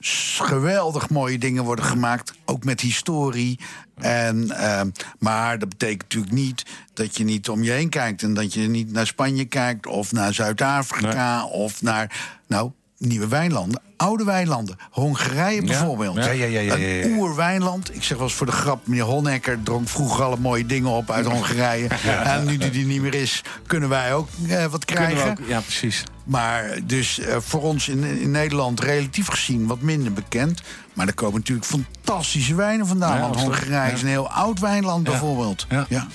S6: s- geweldig mooie dingen worden gemaakt, ook met historie. En, ehm, maar dat betekent natuurlijk niet dat je niet om je heen kijkt. En dat je niet naar Spanje kijkt of naar Zuid-Afrika of naar... Nou, Nieuwe wijnlanden, oude wijnlanden. Hongarije bijvoorbeeld.
S2: ja,
S1: ja, ja, ja, ja, ja.
S6: Een oerwijnland. Ik zeg wel eens voor de grap, meneer Honecker dronk vroeger alle mooie dingen op uit Hongarije. En nu die er niet meer is, kunnen wij ook eh, wat
S2: Kunnen we
S6: krijgen.
S2: ook- ja, precies.
S6: Maar dus eh, voor ons in, in Nederland relatief gezien wat minder bekend. Maar er komen natuurlijk fantastische wijnen vandaan.
S2: Ja,
S6: want
S2: absoluut.
S6: Hongarije is een heel oud wijnland bijvoorbeeld.
S2: Ja.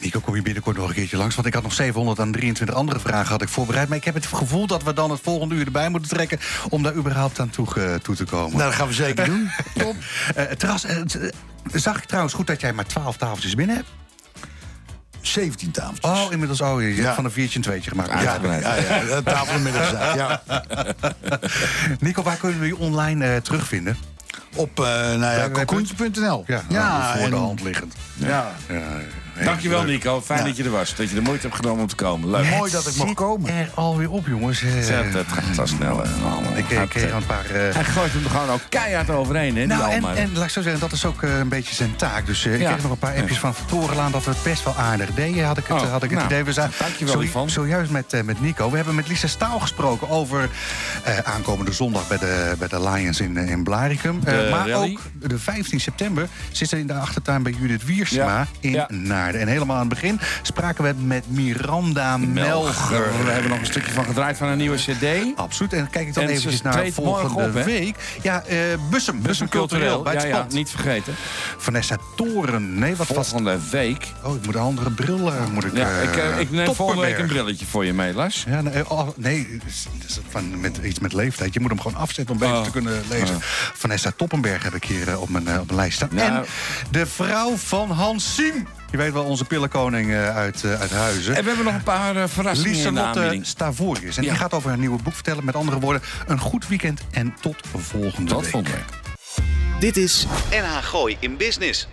S1: Nico, kom je binnenkort nog een keertje langs? Want ik had nog 723 andere vragen had ik voorbereid. Maar ik heb het gevoel dat we dan het volgende uur erbij moeten trekken... om daar überhaupt aan toe, eh, toe te komen.
S6: Nou, dat gaan we zeker doen.
S1: Top. Eh, het terras, eh, het, eh, zag ik trouwens goed dat jij maar 12 tafeltjes binnen hebt?
S6: 17 tafeltjes.
S1: Oh, inmiddels. Oh, je hebt
S6: Ja.
S1: van een viertje een tweetje gemaakt.
S6: ja, ja, ja, ja, tafelmiddagzaak. Ja.
S1: Nico, waar kunnen we je online eh, terugvinden?
S6: Op eh nou ja, cocoentje.nl.
S1: nou, voor de
S6: en-
S1: hand liggend.
S6: Ja.
S1: Ja, ja,
S2: Dankjewel
S1: leuk.
S2: Nico, fijn dat je er was. Dat je de moeite hebt genomen om te komen. Leuk.
S6: Mooi dat ik mocht
S1: Zit
S6: komen.
S1: er alweer op, jongens. Eh,
S2: Ja, dat gaat zo snel. hè. Allemaal.
S1: ik ik kreeg al een paar... eh,
S2: Hij gooit hem er gewoon ook keihard overheen, hè? die
S1: Nou, en,
S2: Almar.
S1: en laat ik zo zeggen, dat is ook eh, een beetje zijn taak. Dus eh, ik
S2: Ja.
S1: kreeg nog een paar appjes van Van Torenlaan dat we het best wel aardig deden. Had ik het,
S2: Oh,
S1: had ik het
S2: nou,
S1: idee. We zijn
S2: dankjewel hiervan.
S1: Zojuist met, eh, met Nico. We hebben met Lisa Staal gesproken over eh, aankomende zondag bij de, bij de Lions in, eh, in Blaricum. Eh,
S2: De
S1: maar
S2: rally.
S1: ook de 15 september zit ze in de achtertuin bij Judith Wiersma
S2: Ja.
S1: in
S2: Ja.
S1: Naarden. En helemaal aan het begin spraken we met Miranda Melger.
S2: We hebben nog een stukje van gedraaid van een nieuwe CD.
S1: Absoluut. En kijk ik dan
S2: En ze
S1: eventjes naar
S2: treedt morgen
S1: volgende
S2: op, hè?
S1: week. Ja, eh Bussum. Bussum Cultureel. Bij het
S2: ja, ja,
S1: Spand.
S2: niet vergeten.
S1: Vanessa Toren. Nee, wat was
S2: Volgende week.
S1: Oh, ik moet een andere bril. eh, moet ik,
S2: Ja,
S1: eh,
S2: ik, eh, ik neem
S1: Topperberg.
S2: volgende week een brilletje voor je mee, Lars.
S1: Ja, nee, oh, nee is- is van, met, iets met leeftijd. Je moet hem gewoon afzetten om beter
S2: Oh.
S1: te kunnen lezen.
S2: Oh.
S1: Vanessa Toppenberg heb ik hier eh, op, mijn, eh, op mijn lijst staan.
S2: Nou.
S1: En de vrouw van Hans Siem. Je weet wel, onze pillenkoning eh, uit, eh, uit Huizen.
S2: En we hebben nog een paar eh, verrassingen in de
S1: Lieselotte
S2: aanbieding.
S1: Stavorius. En
S2: Ja.
S1: die gaat over haar nieuwe boek vertellen. Met andere woorden, een goed weekend en tot volgende
S2: Dat
S1: week.
S2: vond ik.
S4: Dit is NH Gooi in Business.